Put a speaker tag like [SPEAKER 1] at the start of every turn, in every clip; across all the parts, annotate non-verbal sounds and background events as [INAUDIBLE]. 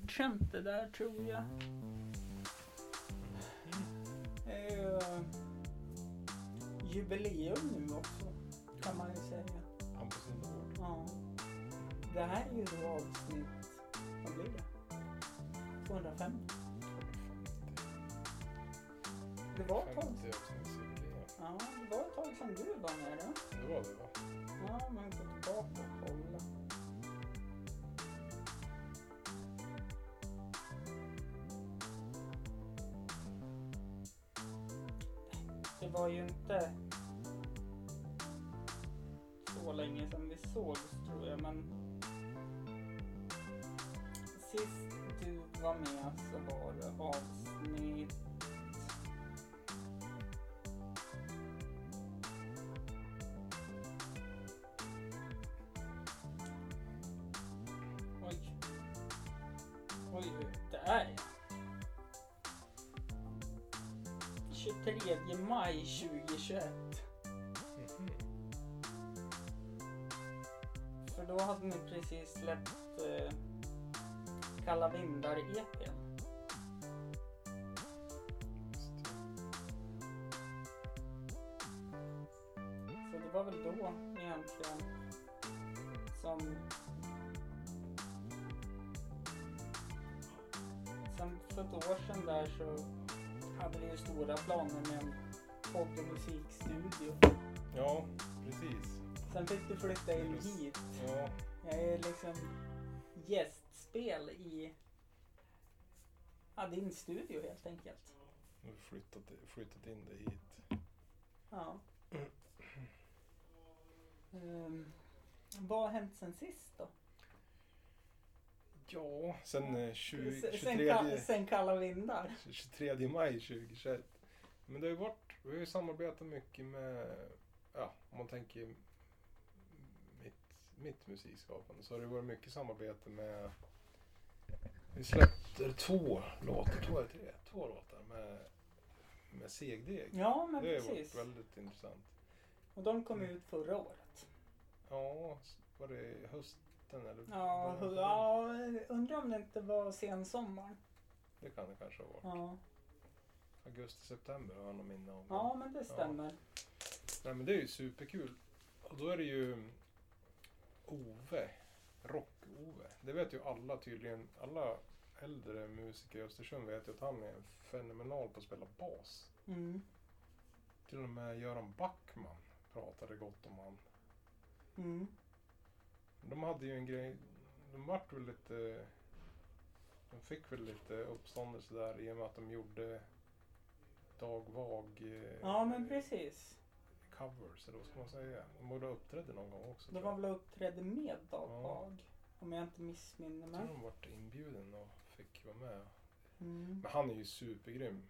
[SPEAKER 1] godkänt det där tror jag. Det är ju eh, jubileum nu också kan man ju säga.
[SPEAKER 2] Han på sin ord.
[SPEAKER 1] Ja. Det här är ju då avsnitt, vad blir det? 205? Det var ett tag
[SPEAKER 2] 50 avsnittsjubileum.
[SPEAKER 1] Ja, det var ett tag sedan du var med då.
[SPEAKER 2] Det var det va?
[SPEAKER 1] Ja, men gå tillbaka och kolla. Det var ju inte så länge sedan vi sågs tror jag, men sist du var med så var det avsnitt Oj. Oj, där ja. 23 maj 2021. För då hade ni precis släppt eh, Kalla vindar-EPn.
[SPEAKER 2] Just det.
[SPEAKER 1] Så det var väl då egentligen som... Sen för ett år sedan där så hade vi ju stora planer med en podd och musikstudio.
[SPEAKER 2] Ja, precis.
[SPEAKER 1] Sen fick du flytta in hit.
[SPEAKER 2] Ja,
[SPEAKER 1] Jag är liksom gästspel i ja, din studio helt enkelt.
[SPEAKER 2] nu har vi flyttat, flyttat in det hit.
[SPEAKER 1] Ja. Ehm, vad har hänt sen sist då?
[SPEAKER 2] Ja, sen eh, 20,
[SPEAKER 1] Sen- sen,
[SPEAKER 2] 23,
[SPEAKER 1] ka- sen kalla vindar?
[SPEAKER 2] 23 maj 2021. Men det har ju varit, vi har ju samarbetat mycket med, ja om man tänker mitt, mitt musikskapande så har det varit mycket samarbete med, vi släppte två låtar, två eller tre, två låtar med, med Segdeg.
[SPEAKER 1] Ja, men
[SPEAKER 2] det har ju
[SPEAKER 1] precis.
[SPEAKER 2] varit väldigt intressant.
[SPEAKER 1] Och de kom ut förra året.
[SPEAKER 2] Ja, s- var det hösten eller?
[SPEAKER 1] Ja,
[SPEAKER 2] början på
[SPEAKER 1] hu-
[SPEAKER 2] den?
[SPEAKER 1] ja, undrar om det inte var sensommaren.
[SPEAKER 2] Det kan det kanske ha varit.
[SPEAKER 1] Ja,
[SPEAKER 2] Augusti, september har jag något minne av.
[SPEAKER 1] ja men det stämmer.
[SPEAKER 2] Nej men det är ju superkul. Och då är det ju Ove, Rock-Ove. Det vet ju alla tydligen. Alla äldre musiker i Östersund vet ju att han är fenomenal på att spela bas.
[SPEAKER 1] Mm.
[SPEAKER 2] Till och med Göran Backman pratade gott om han.
[SPEAKER 1] Mm.
[SPEAKER 2] De hade ju en grej, de vart väl lite, de fick väl lite uppståndelse där i och med att de gjorde Dag Vag eh,
[SPEAKER 1] Ja, men precis.
[SPEAKER 2] covers, eller vad ska man säga? De borde ha uppträdde någon gång också.
[SPEAKER 1] De
[SPEAKER 2] tror jag.
[SPEAKER 1] var väl och uppträdde med Dag
[SPEAKER 2] Ja.
[SPEAKER 1] Hag, Om jag inte missminner
[SPEAKER 2] Jag
[SPEAKER 1] mig.
[SPEAKER 2] tror de vart inbjuden och fick vara med.
[SPEAKER 1] Mm.
[SPEAKER 2] Men han är ju supergrym.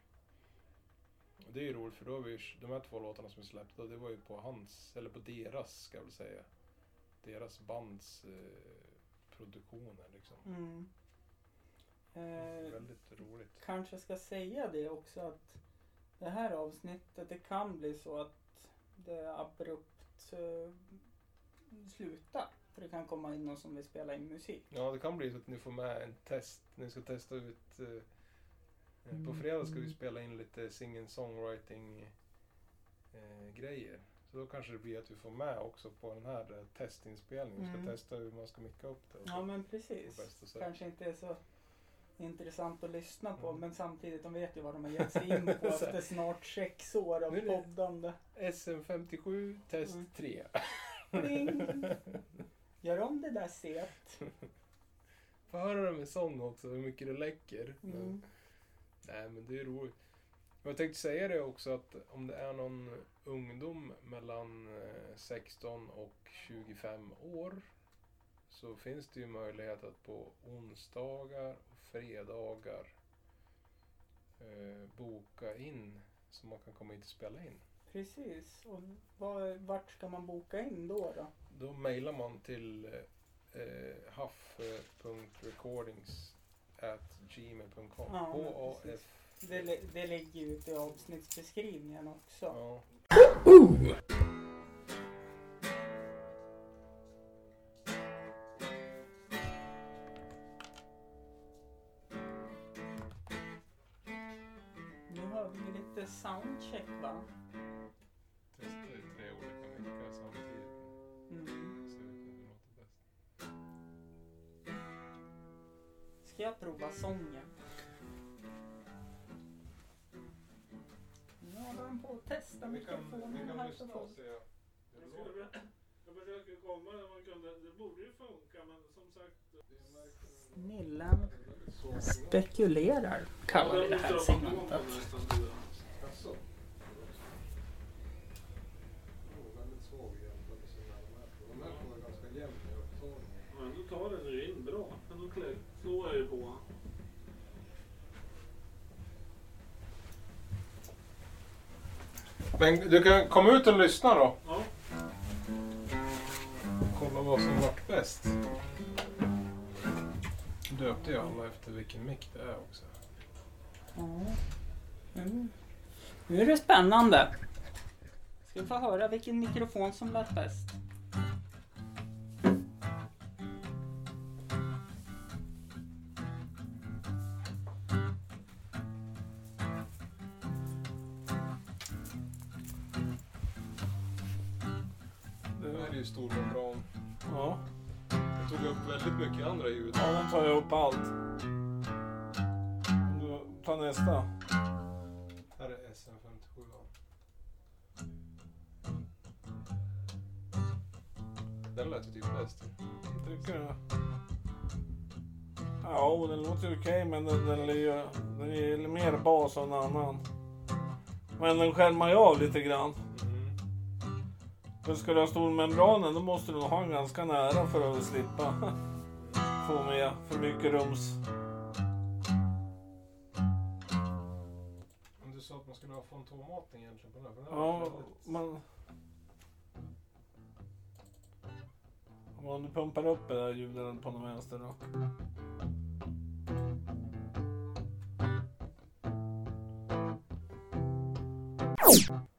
[SPEAKER 2] Och det är ju roligt för då har vi, de här två låtarna som vi släppte, det var ju på hans, eller på deras ska jag väl säga. Deras bands eh, produktioner liksom.
[SPEAKER 1] Mm. Eh,
[SPEAKER 2] Väldigt roligt.
[SPEAKER 1] kanske ska säga det också att det här avsnittet det kan bli så att det abrupt eh, slutar. För det kan komma in någon som vill spela in musik.
[SPEAKER 2] Ja, det kan bli så att ni får med en test, ni ska testa ut. Eh, eh, på
[SPEAKER 1] Mm.
[SPEAKER 2] fredag ska vi spela in lite singing-songwriting eh, grejer. Så då kanske det blir att vi får med också på den här eh, testinspelningen. Vi ska
[SPEAKER 1] Mm.
[SPEAKER 2] testa hur man ska micka upp det. och så.
[SPEAKER 1] Ja men
[SPEAKER 2] På
[SPEAKER 1] precis.
[SPEAKER 2] bästa sätt.
[SPEAKER 1] Kanske inte är så intressant att lyssna på
[SPEAKER 2] Mm.
[SPEAKER 1] men samtidigt de vet ju vad de har gett sig
[SPEAKER 2] [LAUGHS]
[SPEAKER 1] in på efter snart sex år av
[SPEAKER 2] Nu är det-
[SPEAKER 1] poddande.
[SPEAKER 2] SM57 test
[SPEAKER 1] Mm.
[SPEAKER 2] [LAUGHS] 3.
[SPEAKER 1] Pling! [LAUGHS] Gör om det där set.
[SPEAKER 2] Får höra dem i sång också, hur mycket det läcker.
[SPEAKER 1] Mm.
[SPEAKER 2] Nej men det är roligt. Och Jag tänkte säga det också att om det är någon ungdom mellan eh, 16 och 25 år så finns det ju möjlighet att på onsdagar och fredagar eh, boka in så man kan komma hit och spela in.
[SPEAKER 1] Precis. Och var, vart ska man boka in då? då?
[SPEAKER 2] Då mejlar man till eh, haff.recordings@gmail.com.
[SPEAKER 1] Ja, men
[SPEAKER 2] H-A-F.
[SPEAKER 1] Det, li- det ligger ju ute i avsnittsbeskrivningen också.
[SPEAKER 2] Ja.
[SPEAKER 1] det soundcheck va?
[SPEAKER 2] Testa ju tre olika mickar samtidigt.
[SPEAKER 1] Mm.
[SPEAKER 2] Se vilken som låter bäst.
[SPEAKER 1] Ska jag prova sången? Nu håller han på att testa
[SPEAKER 2] Vi kan, vi
[SPEAKER 1] mikrofonen
[SPEAKER 2] kan
[SPEAKER 1] här
[SPEAKER 2] lyssna
[SPEAKER 1] på
[SPEAKER 2] och
[SPEAKER 1] oss.
[SPEAKER 2] se. hur det
[SPEAKER 3] Jag
[SPEAKER 2] låter.
[SPEAKER 3] skulle- Jag försöker komma när man kunde. Det borde ju funka men som sagt.
[SPEAKER 1] Snillen spekulerar kallar vi det här segmentet.
[SPEAKER 2] Jaså? Jo, väldigt svag jämfört med sina de här. De här får ganska jämn i upptagningen.
[SPEAKER 3] Men då tar den ju in bra. Men då klä- slår jag ju på.
[SPEAKER 2] Men du kan komma ut och lyssna då.
[SPEAKER 3] Ja.
[SPEAKER 2] Kolla vad som vart bäst. Döpte jag alla efter vilken mick det är också.
[SPEAKER 1] Ja. Mm. Nu är det spännande. Ska vi få höra vilken mikrofon som lät bäst.
[SPEAKER 2] Det här är ju stormembran.
[SPEAKER 4] Ja,
[SPEAKER 2] Jag tog upp väldigt mycket andra ljud.
[SPEAKER 4] ja de tar jag upp allt. Du, ta nästa.
[SPEAKER 2] Här är SM57. Den lät ju typ bäst.
[SPEAKER 4] Tycker du? Ja, och den låter okej men den, den, är ju, den är ju mer bas än en annan. Men den skärmar ju av lite grann.
[SPEAKER 2] Mm.
[SPEAKER 4] För ska du ha stormembranen då måste du nog ha den ganska nära för att slippa [LAUGHS] få med för mycket rums.
[SPEAKER 2] Men du sa att man skulle ha fantomatning egentligen på den här. För den här
[SPEAKER 4] Ja,
[SPEAKER 2] var väldigt-
[SPEAKER 4] man... Om du pumpar upp det där ljudet på den vänster då.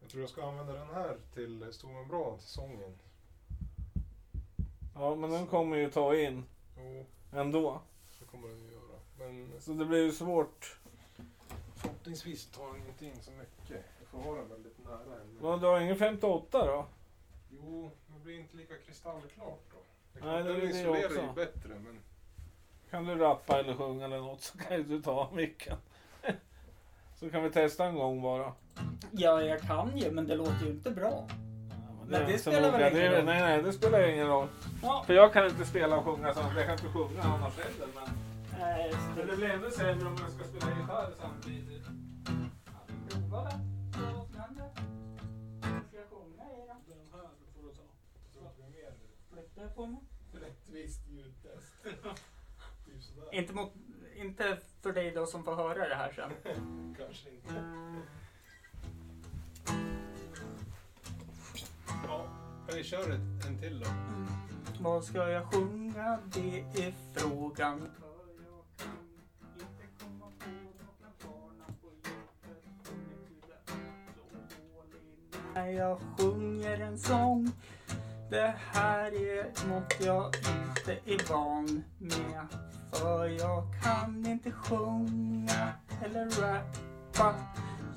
[SPEAKER 2] Jag tror jag ska använda den här till stormembran till sången.
[SPEAKER 4] Ja, men den kommer ju ta in
[SPEAKER 2] Jo,
[SPEAKER 4] ändå.
[SPEAKER 2] det kommer den ju göra. Men
[SPEAKER 4] Så det blir ju svårt.
[SPEAKER 2] förhoppningsvis tar den inte in så mycket. Jag får ha den väldigt nära henne.
[SPEAKER 4] Men du har ingen 58 då?
[SPEAKER 2] Jo, men det blir inte lika kristallklart då. Det
[SPEAKER 4] Nej, det är
[SPEAKER 2] den
[SPEAKER 4] det
[SPEAKER 2] isolerar
[SPEAKER 4] också.
[SPEAKER 2] ju bättre men...
[SPEAKER 4] Kan du rappa eller sjunga eller något så kan ju du ta micken. [LAUGHS] Så kan vi testa en gång bara.
[SPEAKER 1] Ja, jag kan ju, men det låter ju inte bra. Men det
[SPEAKER 4] är
[SPEAKER 1] spelar
[SPEAKER 4] inte
[SPEAKER 1] väl
[SPEAKER 4] noga.
[SPEAKER 1] ingen
[SPEAKER 4] Det är-
[SPEAKER 1] roll?
[SPEAKER 4] Nej, nej, det spelar ingen roll.
[SPEAKER 1] Ja,
[SPEAKER 4] För jag kan inte spela och sjunga så jag kan inte sjunga annars heller. Men...
[SPEAKER 1] eh,
[SPEAKER 4] Men det blir ännu sämre om jag ska spela gitarr samtidigt.
[SPEAKER 1] prova va? Prova vad som händer. Ska jag sjunga i den?
[SPEAKER 3] Den här får du ta.
[SPEAKER 1] Flyttar jag på mig?
[SPEAKER 2] Rättvist ljudtest. [LAUGHS] Typ sådär.
[SPEAKER 1] Inte, mot, inte för dig då som får höra det här sen.
[SPEAKER 2] Kanske inte.
[SPEAKER 3] Ja.
[SPEAKER 2] Vi kör ett, en till då.
[SPEAKER 1] Vad ska jag sjunga? Det är frågan. För jag kan inte komma på några bana på djupet. Det är så dålig När jag sjunger en sång. Det här är något jag inte är van med. För jag kan inte sjunga eller rappa.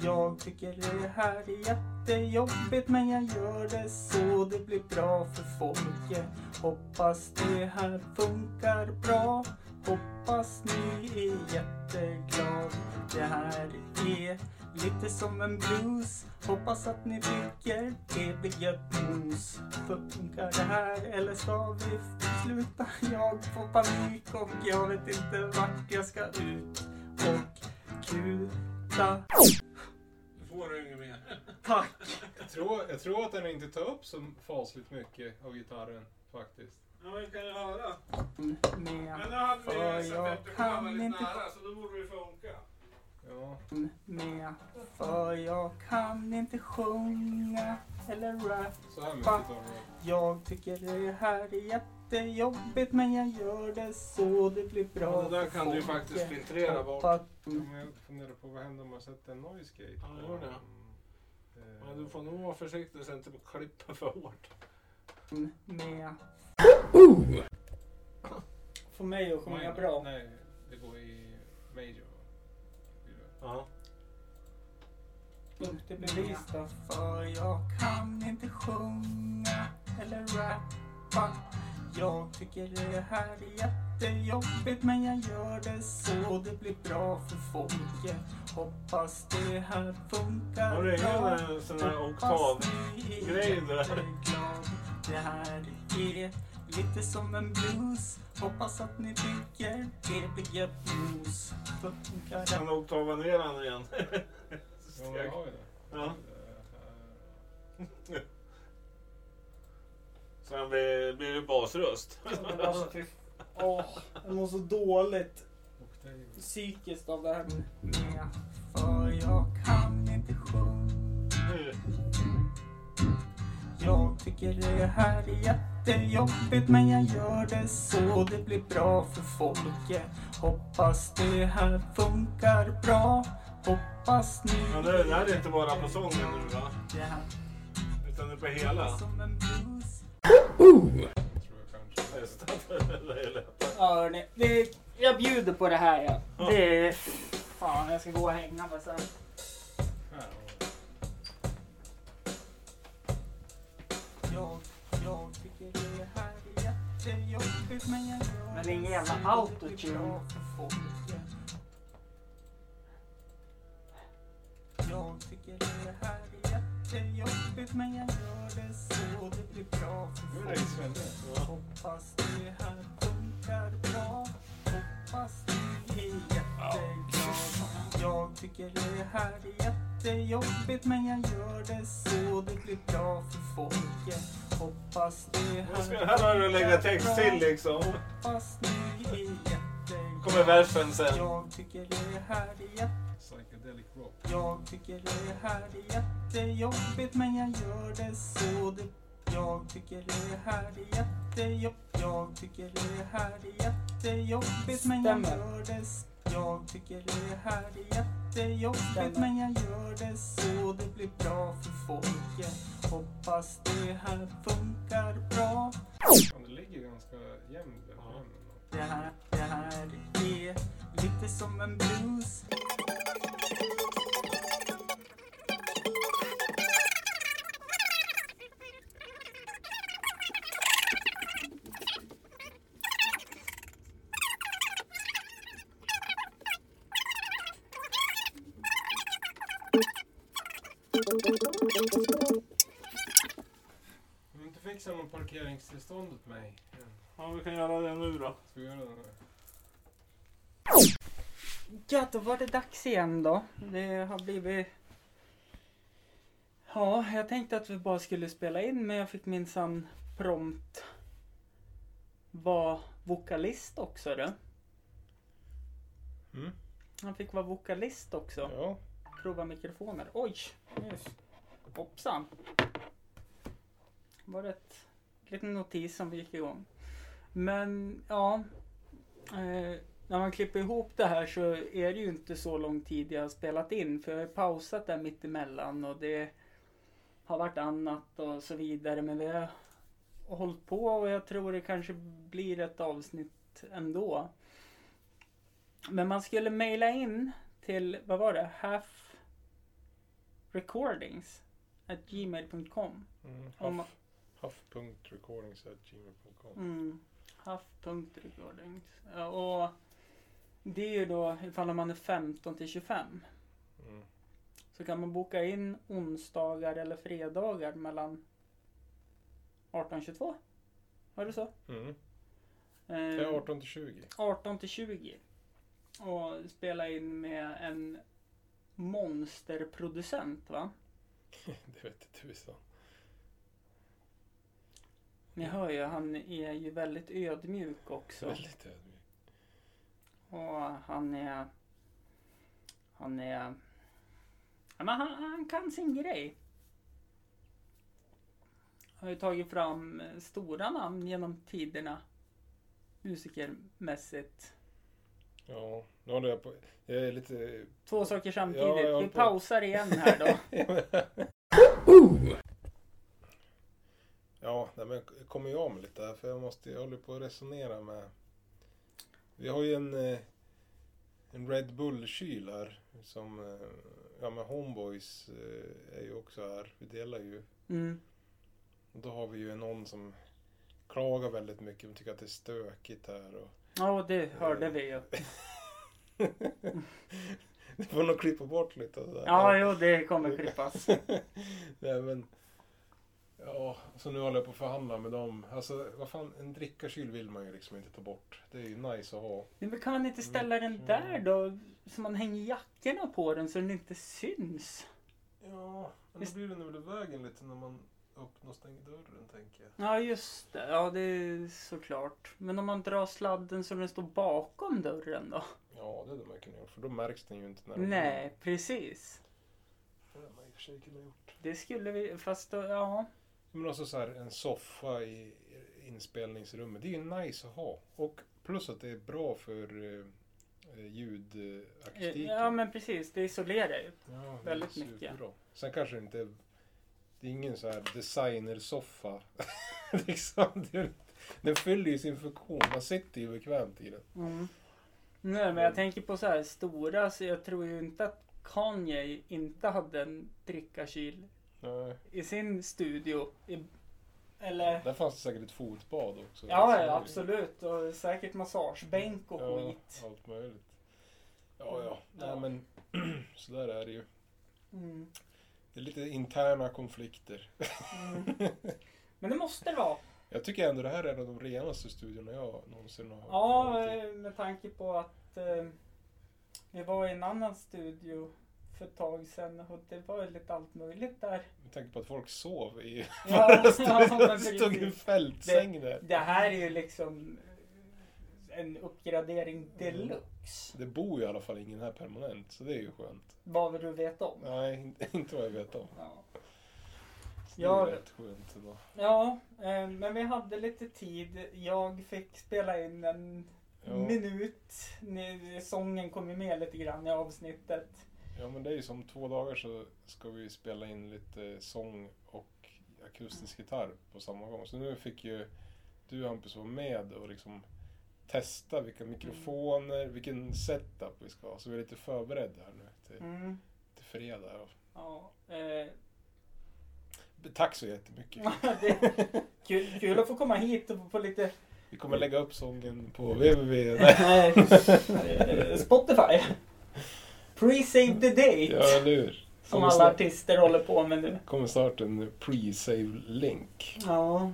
[SPEAKER 1] Jag tycker det här är jättejobbigt men jag gör det så det blir bra för folket. Hoppas det här funkar bra. Hoppas ni är jätteglad. Det här är lite som en blues. Hoppas att ni tycker det blir gött mos. Funkar det här eller ska vi sluta? Jag får panik och jag vet inte vart jag ska ut. Och kuta.
[SPEAKER 3] Nu får du inget mer.
[SPEAKER 1] Tack!
[SPEAKER 2] Jag tror, jag tror att den inte tar upp så fasligt mycket av gitarren faktiskt.
[SPEAKER 3] Ja men kan jag höra?
[SPEAKER 1] Med,
[SPEAKER 3] Men nu hade vi
[SPEAKER 1] För
[SPEAKER 3] ju
[SPEAKER 1] jag
[SPEAKER 3] SM57
[SPEAKER 1] kan
[SPEAKER 3] väldigt
[SPEAKER 1] inte-
[SPEAKER 3] nära så då borde det ju funka.
[SPEAKER 2] Ja.
[SPEAKER 1] med. För jag kan inte sjunga eller rappa.
[SPEAKER 2] Så här mycket
[SPEAKER 1] Fan.
[SPEAKER 2] tar den upp.
[SPEAKER 1] Jag tycker det här är jättejobbigt men jag gör det så det blir bra.
[SPEAKER 4] Ja, det där kan du ju
[SPEAKER 1] för
[SPEAKER 4] faktiskt
[SPEAKER 1] folket.
[SPEAKER 4] filtrera bort.
[SPEAKER 1] Hoppas-
[SPEAKER 2] Ja, men jag funderar på vad händer om man sätter en noise gate?
[SPEAKER 4] Ja, det gör det.
[SPEAKER 2] Mm.
[SPEAKER 4] Men du får nog vara försiktig så att du inte klipper för hårt.
[SPEAKER 1] med.
[SPEAKER 4] Uh!
[SPEAKER 1] Få mig att
[SPEAKER 2] eh, Minor.
[SPEAKER 1] sjunga bra.
[SPEAKER 2] Nej, det går i major.
[SPEAKER 4] Ja.
[SPEAKER 1] Då inte bevisa För jag kan inte sjunga eller rappa Jag tycker det här är jättejobbigt men jag gör det så det blir bra för folket Hoppas det här funkar
[SPEAKER 4] Har du ingen eh, sån där oktav? grej där?
[SPEAKER 1] Det här är lite som en blues Hoppas att ni tycker det blir gött blues Funkar det
[SPEAKER 4] Kan du oktava ner den igen?
[SPEAKER 5] Jo, jag har ju det.
[SPEAKER 4] Ja.
[SPEAKER 5] Eh,
[SPEAKER 4] Sen blir, blir det basröst.
[SPEAKER 1] Alltså, fy- Åh, jag mår så dåligt
[SPEAKER 5] och det är ju-
[SPEAKER 1] psykiskt av det här med. För jag kan inte sjunga.
[SPEAKER 4] Nu.
[SPEAKER 1] Jag tycker det här är jättejobbigt men jag gör det så det blir bra för folket. Hoppas det här funkar bra. Hoppas ni...
[SPEAKER 4] Men det, det här är inte bara på sången nu va?
[SPEAKER 1] Det här
[SPEAKER 4] Utan det är på
[SPEAKER 1] är
[SPEAKER 4] hela.
[SPEAKER 1] som en blues.
[SPEAKER 5] Jag tror jag kanske...
[SPEAKER 4] Testat. Det är lätt.
[SPEAKER 1] Ja, hörni, det, jag bjuder på det här ja. Det är... Fan, jag ska gå och hänga mig sen.
[SPEAKER 5] Här har jag.
[SPEAKER 1] Jag, jag tycker det här är jättejobbigt men jag gör
[SPEAKER 2] Men det är ingen jävla
[SPEAKER 1] så det blir
[SPEAKER 2] autotune.
[SPEAKER 1] bra för folket. Jag tycker det här är jättejobbigt men jag gör det så det blir bra
[SPEAKER 5] Nu
[SPEAKER 1] för
[SPEAKER 5] är det
[SPEAKER 1] folket.
[SPEAKER 5] Svenne.
[SPEAKER 1] Hoppas det här funkar bra. Hoppas ni är jätteglada. Jag tycker det här är jättejobbigt men jag gör det så det blir bra för folket. Hoppas det
[SPEAKER 4] Nu ska-
[SPEAKER 1] här
[SPEAKER 4] Här har du lägga text till
[SPEAKER 1] funkar bra.
[SPEAKER 4] liksom.
[SPEAKER 1] Hoppas ni är jätteglada.
[SPEAKER 4] kommer versen sen.
[SPEAKER 1] Jag tycker det här är jättejobbigt.
[SPEAKER 5] Psychedelic rock.
[SPEAKER 1] Jag tycker det här är jättejobbigt men jag gör det så det Jag tycker det här är jättejobbigt Jag tycker det här är jättejobbigt men jag
[SPEAKER 2] Stämmer.
[SPEAKER 1] gör det s- Jag tycker det här är jättejobbigt men jag gör det så det blir bra för folket Hoppas det här funkar bra
[SPEAKER 5] Fan, det ligger ganska jämnt. den här jämnen då.
[SPEAKER 1] det här, det här är lite som en blues
[SPEAKER 5] Om du inte fixar någon parkeringstillstånd åt mig. än,
[SPEAKER 4] Ja, vi kan göra det nu då.
[SPEAKER 5] Ska vi göra det? nu?
[SPEAKER 1] Ja, då var det dags igen då. Det har blivit... Ja, jag tänkte att vi bara skulle spela in men jag fick minsann prompt vara vokalist också du.
[SPEAKER 5] Mm.
[SPEAKER 1] Han fick vara vokalist också.
[SPEAKER 5] Ja.
[SPEAKER 1] Prova mikrofoner. Oj! Nyss. Hoppsan! Var ett liten notis som gick igång. Men ja. Eh, när man klipper ihop det här så är det ju inte så lång tid jag har spelat in. För jag har ju pausat där mittemellan och det har varit annat och så vidare. Men vi har hållit på och jag tror det kanske blir ett avsnitt ändå. Men man skulle mejla in till, vad var det? Half recordings at gmail.com
[SPEAKER 5] Mm.
[SPEAKER 1] Om man-
[SPEAKER 5] Huff, Huff.recordings.gmail.com
[SPEAKER 1] mm, half.recordings. Ja, Och det är ju då ifall man är 15 till 25
[SPEAKER 5] mm.
[SPEAKER 1] så kan man boka in onsdagar eller fredagar mellan 18 och 22. Var det så?
[SPEAKER 5] mm. Det
[SPEAKER 1] Eh,
[SPEAKER 5] är 18 till 20.
[SPEAKER 1] 18 till 20 och spela in med en monsterproducent va?
[SPEAKER 5] [LAUGHS] Det vet jag tusan.
[SPEAKER 1] Ni hör ju, han är ju väldigt ödmjuk också.
[SPEAKER 5] Väldigt ödmjuk.
[SPEAKER 1] Och han är... Han är... Ja, men han, han kan sin grej. Har ju tagit fram eh, stora namn genom tiderna. Musikermässigt.
[SPEAKER 5] Ja, nu håller jag på. Jag är lite...
[SPEAKER 1] Två saker
[SPEAKER 5] Ja,
[SPEAKER 1] samtidigt.
[SPEAKER 5] jag
[SPEAKER 1] Vi
[SPEAKER 5] håller på.
[SPEAKER 1] pausar igen här då.
[SPEAKER 2] [LAUGHS]
[SPEAKER 5] [LAUGHS] Ja, nej, men jag kommer ju av mig lite här för jag måste, jag håller på att resonera med... Vi har ju en eh,
[SPEAKER 2] en Red Bull-kyl här. Som, eh, ja men Homeboys eh, är ju också här. Vi delar ju.
[SPEAKER 1] Mm.
[SPEAKER 2] Och Då har vi ju någon som klagar väldigt mycket och tycker att det är stökigt här. Och [LAUGHS]
[SPEAKER 1] Ja, det hörde vi ju.
[SPEAKER 2] det får nog klippa bort lite av det där.
[SPEAKER 1] Ja, jo, det kommer klippas.
[SPEAKER 2] Nej men. Ja, så nu håller jag på att förhandla med dem. Alltså vad fan, en drickarkyl vill man ju liksom inte ta bort. Det är ju nice att ha.
[SPEAKER 1] Men kan man inte ställa
[SPEAKER 5] Mm.
[SPEAKER 1] den där då? Så man hänger jackorna på den så den inte syns.
[SPEAKER 2] Ja, men då
[SPEAKER 1] Visst.
[SPEAKER 2] blir den väl i vägen lite när man öppnar och stänger dörren tänker jag.
[SPEAKER 1] Ja, just det. Ja, det är såklart. Men om man drar sladden så den står bakom dörren då?
[SPEAKER 2] Ja, det hade man kunnat gjort för då märks den ju inte när
[SPEAKER 1] Nej, precis.
[SPEAKER 2] Det hade man i och för sig kunnat gjort.
[SPEAKER 1] Det skulle vi... Fast då, ja.
[SPEAKER 2] Men också så här en soffa i inspelningsrummet. Det är ju nice att ha. Och plus att det är bra för eh, ljudakustiken.
[SPEAKER 1] Ja, men precis. Det isolerar ju.
[SPEAKER 2] Ja, det är
[SPEAKER 1] väldigt mycket.
[SPEAKER 2] superbra. Sen kanske det inte är... Det är ingen så här designersoffa. [LAUGHS] liksom, det- den fyller ju sin funktion. Man sitter ju bekvämt i den.
[SPEAKER 1] Mm. Nej, men jag tänker på så här stora, så jag tror ju inte att Kanye inte hade en drickarkyl
[SPEAKER 2] Nej.
[SPEAKER 1] i sin studio. I, eller?
[SPEAKER 2] Där fanns det säkert ett fotbad också.
[SPEAKER 1] Ja,
[SPEAKER 2] Liksom.
[SPEAKER 1] ja, absolut. Och säkert massagebänk och
[SPEAKER 2] Ja,
[SPEAKER 1] skit. Mm.
[SPEAKER 2] allt möjligt. Ja, ja.
[SPEAKER 1] Ja.
[SPEAKER 2] Nej, men [CLEARS THROAT] så där är det ju.
[SPEAKER 1] Mm.
[SPEAKER 2] Det är lite interna konflikter.
[SPEAKER 1] Mm. Men det måste det vara.
[SPEAKER 2] Jag tycker ändå det här är en av de renaste studiorna jag någonsin har
[SPEAKER 1] Ja,
[SPEAKER 2] varit i.
[SPEAKER 1] eh, med tanke på att eh, vi var i en annan studio för ett tag sedan och det var ju lite allt möjligt
[SPEAKER 2] [LAUGHS]
[SPEAKER 1] där.
[SPEAKER 2] Med tanke på att folk sov i
[SPEAKER 1] [LAUGHS] Ja,
[SPEAKER 2] förra studion.
[SPEAKER 1] ja, men
[SPEAKER 2] [LAUGHS] Det stod en
[SPEAKER 1] precis.
[SPEAKER 2] fältsäng där.
[SPEAKER 1] Det här är ju liksom eh, en uppgradering deluxe.
[SPEAKER 2] Det bor ju i alla fall ingen här permanent, så det är ju skönt.
[SPEAKER 1] Vad vill du veta om?
[SPEAKER 2] Nej, inte- [LAUGHS] inte vad jag vet om.
[SPEAKER 1] Ja,
[SPEAKER 2] Så det är
[SPEAKER 1] Ja.
[SPEAKER 2] ju rätt skönt ändå.
[SPEAKER 1] ja eh, men vi hade lite tid. Jag fick spela in en
[SPEAKER 2] Ja,
[SPEAKER 1] minut. Ni- Sången kom ju med lite grann i avsnittet.
[SPEAKER 2] ja, men det är ju som två dagar så ska vi spela in lite sång och akustisk gitarr på samma gång. Så nu fick ju du Hampus vara med och liksom testa vilka mikrofoner, vilken setup vi ska ha. Så vi är lite förberedda här nu till,
[SPEAKER 1] Mm.
[SPEAKER 2] till fredag.
[SPEAKER 1] Ja, eh,
[SPEAKER 2] Tack
[SPEAKER 1] [LAUGHS]
[SPEAKER 2] så [LAUGHS] jättemycket.
[SPEAKER 1] det är kul, kul att få komma hit och få lite
[SPEAKER 2] Vi kommer lägga upp sången på www.
[SPEAKER 1] eh, Spotify. Pre-save the date.
[SPEAKER 2] Ja, eller hur?
[SPEAKER 1] Som alla artister håller på med nu.
[SPEAKER 2] kommer snart en pre-save-länk.
[SPEAKER 1] Ja.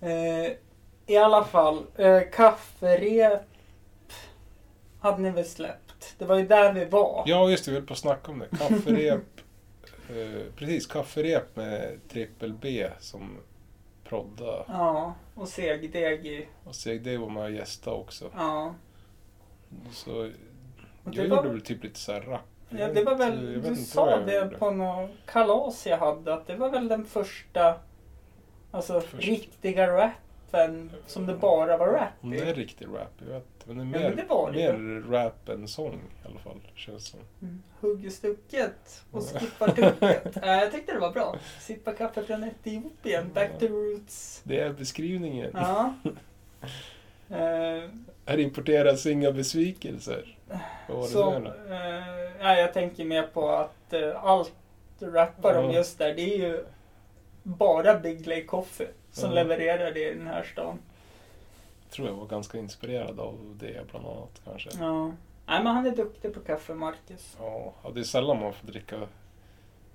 [SPEAKER 1] Eh, I alla fall, eh, kafferep hade ni väl släppt? Det var ju där vi var.
[SPEAKER 2] Ja, just det. Vi höll på att snacka om det. Kafferep. [LAUGHS] eh, precis, kafferep med Triple B som prodda.
[SPEAKER 1] Ja, och segdeg i.
[SPEAKER 2] Och Seg Dave var med och gästade också.
[SPEAKER 1] Ja.
[SPEAKER 2] Så
[SPEAKER 1] Och
[SPEAKER 2] jag
[SPEAKER 1] det var-
[SPEAKER 2] gjorde väl typ lite så här rap.
[SPEAKER 1] ja. Det var
[SPEAKER 2] Jag vet
[SPEAKER 1] väl, du
[SPEAKER 2] inte vad
[SPEAKER 1] sa
[SPEAKER 2] jag
[SPEAKER 1] det
[SPEAKER 2] gjorde.
[SPEAKER 1] på något kalas jag hade, att det var väl den första, alltså
[SPEAKER 2] Första.
[SPEAKER 1] riktiga rappen som det bara var rap
[SPEAKER 2] Om det är
[SPEAKER 1] i.
[SPEAKER 2] riktig rap, jag vet inte. Men
[SPEAKER 1] Ja,
[SPEAKER 2] det
[SPEAKER 1] men
[SPEAKER 2] är mer,
[SPEAKER 1] det var det
[SPEAKER 2] mer rap än sång i alla fall, känns som.
[SPEAKER 1] Mm. Hugger stucket och skippar
[SPEAKER 2] [LAUGHS]
[SPEAKER 1] tucket. äh, jag tyckte det var bra. Sippa kaffe från Etiopien, back to roots.
[SPEAKER 2] Det är beskrivningen.
[SPEAKER 1] Ja. Eh,
[SPEAKER 2] [LAUGHS] Här importeras inga besvikelser. Vad var det
[SPEAKER 1] så,
[SPEAKER 2] där då?
[SPEAKER 1] eh, nej, jag tänker mer på att eh, allt du rappar om
[SPEAKER 2] Ja.
[SPEAKER 1] just där, det är ju bara Big Lake Coffee som
[SPEAKER 2] Ja.
[SPEAKER 1] levererar det i den här stan.
[SPEAKER 2] tror jag var ganska inspirerad av det bland annat kanske.
[SPEAKER 1] Ja. Nej, men han är duktig på kaffe, Marcus.
[SPEAKER 2] Ja, ja, det är sällan man får dricka.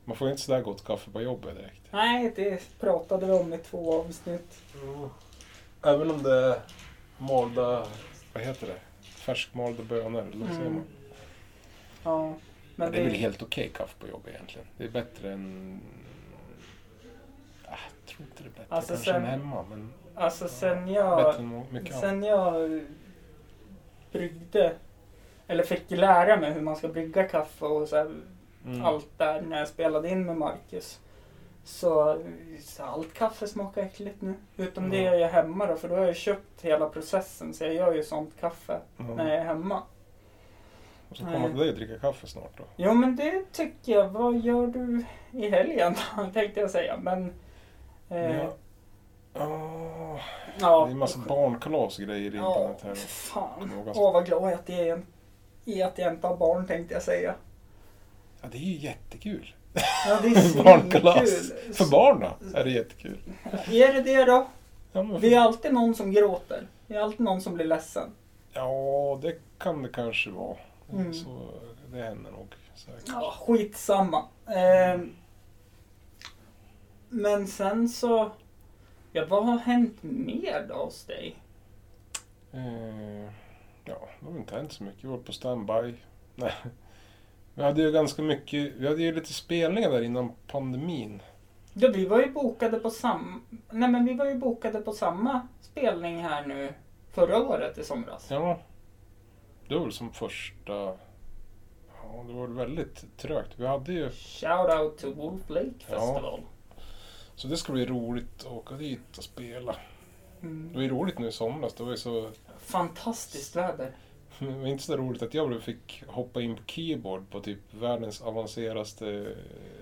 [SPEAKER 2] Man får ju inte sådär gott kaffe på jobbet direkt.
[SPEAKER 1] Nej, det pratade vi om i två avsnitt.
[SPEAKER 2] Även om det är malda, vad heter det? Färskmalda bönor, eller vad säger
[SPEAKER 1] Mm.
[SPEAKER 2] man?
[SPEAKER 1] Ja,
[SPEAKER 2] Men
[SPEAKER 1] men
[SPEAKER 2] det är väl
[SPEAKER 1] det-
[SPEAKER 2] helt okej kaffe på jobbet egentligen. Det är bättre än... Ah, Jag tror inte det är bättre
[SPEAKER 1] Alltså,
[SPEAKER 2] kanske
[SPEAKER 1] sen-
[SPEAKER 2] än hemma, men
[SPEAKER 1] Alltså sen
[SPEAKER 2] bättre
[SPEAKER 1] jag,
[SPEAKER 2] än må- mycket annat.
[SPEAKER 1] sen jag bryggde, eller fick lära mig hur man ska brygga kaffe och så här,
[SPEAKER 2] Mm.
[SPEAKER 1] allt där när jag spelade in med Marcus. Så, så allt kaffe smakar äckligt nu. Utom det
[SPEAKER 2] Ja.
[SPEAKER 1] jag gör hemma då, för då har jag köpt hela processen. Så jag gör ju sånt kaffe
[SPEAKER 2] Ja.
[SPEAKER 1] när jag är hemma.
[SPEAKER 2] Och så kommer man till dig och dricka kaffe snart då.
[SPEAKER 1] Jo men det tycker jag. Vad gör du i helgen [LAUGHS] tänkte jag säga. Men, eh,
[SPEAKER 2] Ja. Ah, Åh,
[SPEAKER 1] ja.
[SPEAKER 2] Det är en massa barnkalas och grejer i
[SPEAKER 1] Ja,
[SPEAKER 2] internet här.
[SPEAKER 1] för fan.
[SPEAKER 2] Några-
[SPEAKER 1] Åh vad glad jag är att det är en i att jag inte har barn tänkte jag säga.
[SPEAKER 2] Ja, det är ju jättekul.
[SPEAKER 1] Ja,
[SPEAKER 2] [LAUGHS]
[SPEAKER 1] det är
[SPEAKER 2] Barnkalas.
[SPEAKER 1] svinkul.
[SPEAKER 2] För barn då är det jättekul.
[SPEAKER 1] Är det det då?
[SPEAKER 2] Ja, men,
[SPEAKER 1] Det är alltid någon som gråter. Det är alltid någon som blir ledsen.
[SPEAKER 2] ja det kan det kanske vara.
[SPEAKER 1] Mm.
[SPEAKER 2] Så, det händer nog säkert.
[SPEAKER 1] Ja, skitsamma. Ehm, men sen så... Ja, vad har hänt mer då hos dig?
[SPEAKER 2] Eh, ja, det har väl inte hänt så mycket. Vi var på standby. Nej. Vi hade ju ganska mycket, vi hade ju lite spelningar där innan pandemin.
[SPEAKER 1] Ja, vi var ju bokade på samma... Nej, men vi var ju bokade på samma spelning här nu förra året i somras.
[SPEAKER 2] Ja. Det var väl som första... Ja, det var väl väldigt trögt. Vi hade ju...
[SPEAKER 1] Shout out to Wolf Lake
[SPEAKER 2] Ja.
[SPEAKER 1] Festival.
[SPEAKER 2] Så det skulle bli roligt att åka dit och spela. Det
[SPEAKER 1] Mm.
[SPEAKER 2] var ju roligt nu i somras. Det var ju så...
[SPEAKER 1] Fantastiskt väder.
[SPEAKER 2] Det var inte så roligt att jag blev- fick hoppa in på keyboard på typ världens avancerade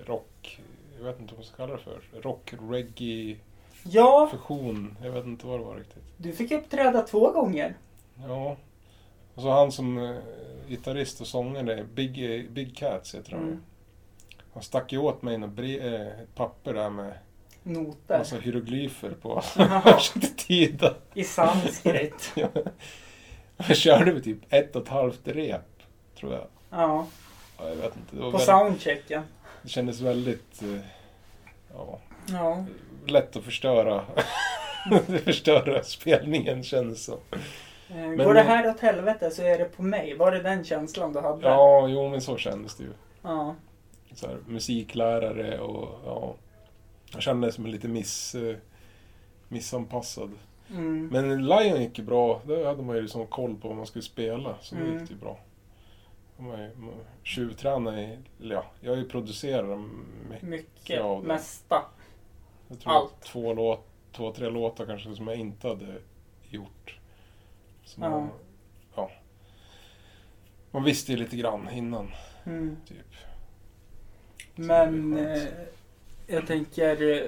[SPEAKER 2] rock... Jag vet inte vad man ska kalla det för. Rock-reggae-fusion.
[SPEAKER 1] Ja,
[SPEAKER 2] Jag vet inte vad det var riktigt.
[SPEAKER 1] du fick uppträda två gånger.
[SPEAKER 2] Ja. Och så han som eh, gitarrist och sångare, Big, eh, Big Cats heter han ju.
[SPEAKER 1] Mm.
[SPEAKER 2] Han stack ju åt mig något bre- eh, ett papper där med
[SPEAKER 1] Noter.
[SPEAKER 2] massa hieroglyfer
[SPEAKER 1] [LAUGHS]
[SPEAKER 2] på.
[SPEAKER 1] Jaha.
[SPEAKER 2] Jag försökte tyda.
[SPEAKER 1] I sanskrit.
[SPEAKER 2] Jag körde med typ ett och ett halvt rep, tror jag.
[SPEAKER 1] Ja,
[SPEAKER 2] Ja, jag vet inte. Det, var
[SPEAKER 1] på
[SPEAKER 2] väldigt,
[SPEAKER 1] soundchecken.
[SPEAKER 2] det kändes väldigt... eh, Ja,
[SPEAKER 1] Ja.
[SPEAKER 2] lätt att förstöra. [LAUGHS] förstöra spelningen kändes som.
[SPEAKER 1] Eh,
[SPEAKER 2] Men-
[SPEAKER 1] Går det här åt helvete så är det på mig. Var det den känslan du hade?
[SPEAKER 2] Ja, jo men så kändes det ju.
[SPEAKER 1] Ja.
[SPEAKER 2] så här, musiklärare och ja, jag kände mig som en lite miss, eh, missanpassad.
[SPEAKER 1] Mm.
[SPEAKER 2] Men Lion gick ju bra, där hade man ju liksom koll på vad man skulle spela, så det
[SPEAKER 1] Mm.
[SPEAKER 2] gick det ju bra. Man är- man tjuvtränade i, eller ja, jag är ju producerare mycket.
[SPEAKER 1] Mycket.
[SPEAKER 2] Ja, det-
[SPEAKER 1] Mesta.
[SPEAKER 2] Jag tror
[SPEAKER 1] Allt.
[SPEAKER 2] två, låt, två, tre låtar kanske som jag inte hade gjort. Som
[SPEAKER 1] Ja.
[SPEAKER 2] man, ja. man visste ju lite grann innan,
[SPEAKER 1] Mm.
[SPEAKER 2] typ.
[SPEAKER 1] Men
[SPEAKER 2] Så det är
[SPEAKER 1] eh,
[SPEAKER 2] skönt.
[SPEAKER 1] jag tänker... eh,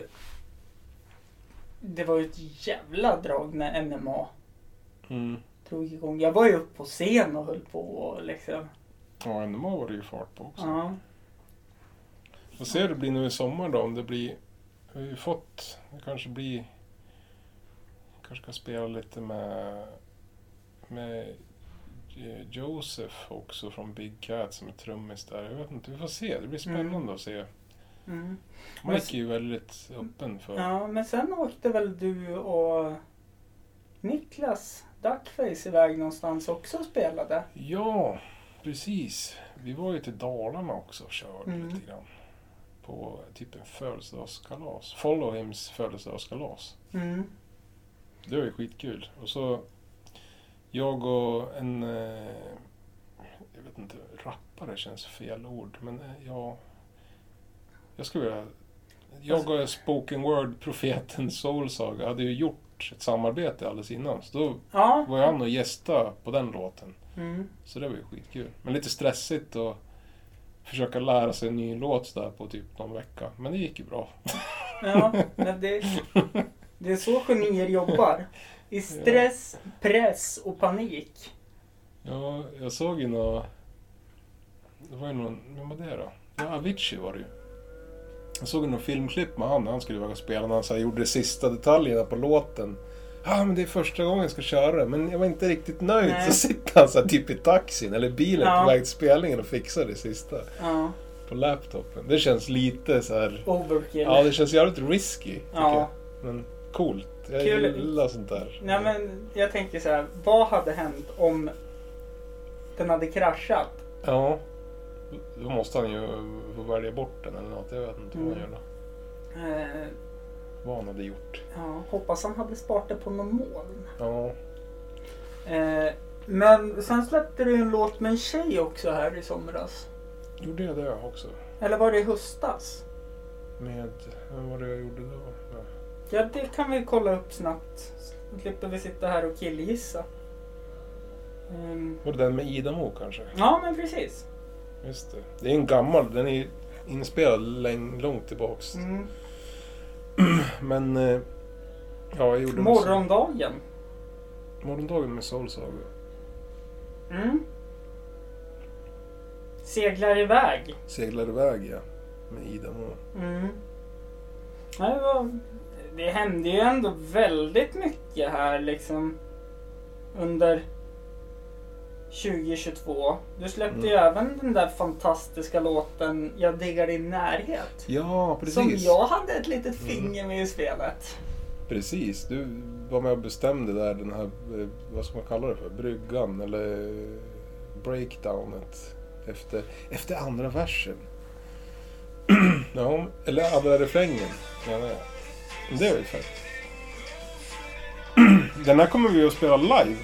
[SPEAKER 1] Det var ju ett jävla drag när MMA eh,
[SPEAKER 2] Mm.
[SPEAKER 1] drog igång. Jag var ju uppe på scen och höll på och liksom.
[SPEAKER 2] Ja, NMA var det ju fart på också.
[SPEAKER 1] Ja.
[SPEAKER 2] Får se hur det blir nu i sommar då, om det blir... Vi har ju fått... Det kanske blir... kanske ska spela lite med... Med J- Josef också från Big Cat som är trummis där. Jag vet inte, vi får se. Det blir spännande
[SPEAKER 1] Mm.
[SPEAKER 2] att se.
[SPEAKER 1] Mm. Men s-
[SPEAKER 2] Mike är ju väldigt öppen för...
[SPEAKER 1] ja, men sen åkte väl du och Niklas Duckface iväg någonstans också och spelade.
[SPEAKER 2] Ja, precis. Vi var ju till Dalarna också och körde
[SPEAKER 1] Mm.
[SPEAKER 2] lite grann. På typ en födelsedagskalas. Follow Hims födelsedagskalas.
[SPEAKER 1] Mm.
[SPEAKER 2] Det var ju skitkul. Och så jag och en, eh, jag vet inte, rappare känns fel ord, men eh, jag, jag skulle vilja, jag och spoken word-profeten Soulsaga hade ju gjort ett samarbete alldeles innan, så då
[SPEAKER 1] Ja.
[SPEAKER 2] var jag han och gästa på den låten.
[SPEAKER 1] Mm.
[SPEAKER 2] Så det var ju skitkul. Men lite stressigt att försöka lära sig en ny låt sådär på typ någon vecka. Men det gick ju bra.
[SPEAKER 1] Ja, men det, det är så genier jobbar. I stress, press och panik.
[SPEAKER 2] Ja, jag såg ju nå... Det var ju någon... Vem var det då? Ja, Avicii var det ju. Jag såg ju någon filmklipp med han när han skulle iväg och spela när han så här, gjorde de sista detaljerna på låten. Ja, men det är första gången jag ska köra det, men jag var inte riktigt nöjd.
[SPEAKER 1] Nej.
[SPEAKER 2] Så sitter han så här, typ i taxin eller bilen
[SPEAKER 1] Ja.
[SPEAKER 2] på väg till spelningen och fixar det sista
[SPEAKER 1] Ja,
[SPEAKER 2] på laptopen. Det känns lite så här...
[SPEAKER 1] overkill.
[SPEAKER 2] Ja, det känns jävligt risky, tycker
[SPEAKER 1] Ja.
[SPEAKER 2] jag. Men coolt. Jag
[SPEAKER 1] Kul.
[SPEAKER 2] gillar sånt där.
[SPEAKER 1] Nej men jag tänker så här, vad hade hänt om den hade kraschat?
[SPEAKER 2] Ja. Då måste han ju få välja bort den eller något. Jag vet inte vad han
[SPEAKER 1] Mm.
[SPEAKER 2] gör då.
[SPEAKER 1] Eh,
[SPEAKER 2] Vad han hade gjort.
[SPEAKER 1] ja, hoppas han hade sparat det på någon moln.
[SPEAKER 2] Ja.
[SPEAKER 1] Eh, men sen släppte du en låt med en tjej också här i somras.
[SPEAKER 2] Gjorde jag det också?
[SPEAKER 1] Eller var det i höstas?
[SPEAKER 2] Med... Vem var det jag gjorde då? Ja.
[SPEAKER 1] Ja, det kan vi kolla upp snabbt. Så slipper vi sitta här och killgissa. Ehm,
[SPEAKER 2] Var det den med Idamo kanske?
[SPEAKER 1] ja, men precis.
[SPEAKER 2] Just det. Det är en gammal. Den är inspelad läng- långt tillbaks.
[SPEAKER 1] Mm.
[SPEAKER 2] Men... eh, Ja, jag gjorde...
[SPEAKER 1] Morgondagen.
[SPEAKER 2] Morgondagen med Soulsaga.
[SPEAKER 1] Mm. Seglar iväg.
[SPEAKER 2] Seglar iväg ja. Med Ida Må.
[SPEAKER 1] Mm. Nej, det, var, det hände ju ändå väldigt mycket här liksom under 2022. Du släppte ju
[SPEAKER 2] Mm.
[SPEAKER 1] även den där fantastiska låten Jag diggar din närhet.
[SPEAKER 2] Ja, precis.
[SPEAKER 1] Som jag hade ett litet
[SPEAKER 2] Mm.
[SPEAKER 1] finger med i spelet.
[SPEAKER 2] Precis, du var med och bestämde där den här, eh, vad ska man kalla det för, bryggan eller breakdownet efter, efter andra versen. [CLEARS THROAT] ja, hon- eller andra refrängen menar jag. Men Det var ju fett. [CLEARS THROAT] den här kommer vi att spela live.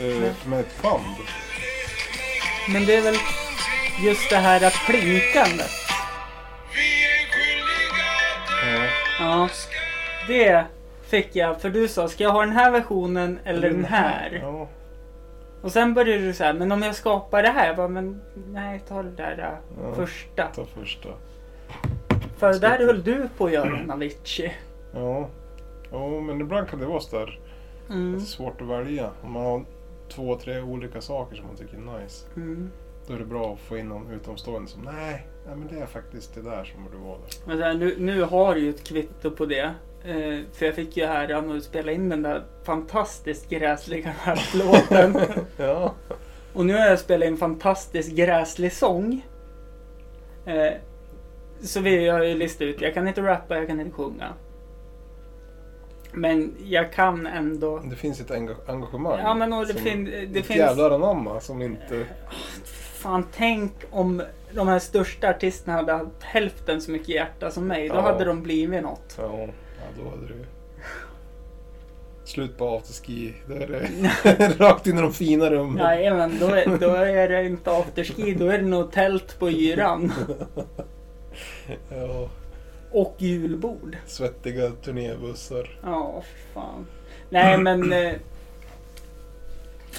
[SPEAKER 2] Eh, med ett band.
[SPEAKER 1] Men det är väl just det här att plinkandet.
[SPEAKER 2] Ja.
[SPEAKER 1] Ja, det fick jag. För du sa, ska jag ha den här versionen eller den här?
[SPEAKER 2] Ja.
[SPEAKER 1] Och sen började du säga, men om jag skapar det här? Jag bara, men nej, ta det där eh,
[SPEAKER 2] Ja.
[SPEAKER 1] första.
[SPEAKER 2] Ta första.
[SPEAKER 1] För det där höll du på att göra en Avicii.
[SPEAKER 2] Ja. ja, men ibland kan det vara så där
[SPEAKER 1] Mm.
[SPEAKER 2] Det är svårt att välja. Om man har två, tre olika saker som man tycker är nice.
[SPEAKER 1] Mm.
[SPEAKER 2] Då är det bra att få in någon utomstående som nej, nej men det är faktiskt det där som borde vara där.
[SPEAKER 1] Men så här, nu, nu har du ju ett kvitto på det. Eh, för jag fick ju äran att spela in den där fantastiskt gräsliga [LAUGHS] låten.
[SPEAKER 2] Ja.
[SPEAKER 1] Och nu har jag spelat in en fantastiskt gräslig sång. Eh, så vi har ju listat ut, jag kan inte rappa, jag kan inte sjunga. Men jag kan ändå...
[SPEAKER 2] Det finns ett enga- engagemang.
[SPEAKER 1] Ja men och det,
[SPEAKER 2] som-
[SPEAKER 1] fin- det
[SPEAKER 2] ett
[SPEAKER 1] finns... Eh.
[SPEAKER 2] jävlar anamma som inte...
[SPEAKER 1] Fan tänk om de här största artisterna hade haft hälften så mycket hjärta som mig. Då
[SPEAKER 2] Ja.
[SPEAKER 1] hade de blivit något.
[SPEAKER 2] Ja, ja då hade du... Slut på afterski. Då är
[SPEAKER 1] [LAUGHS]
[SPEAKER 2] det rakt in i de fina rummen.
[SPEAKER 1] Nej men då är, då är det inte afterski, då är det nog tält på yran.
[SPEAKER 2] [LAUGHS] Ja,
[SPEAKER 1] Och julbord.
[SPEAKER 2] svettiga turnébussar.
[SPEAKER 1] Ja, fy fan. Nej, men... Eh,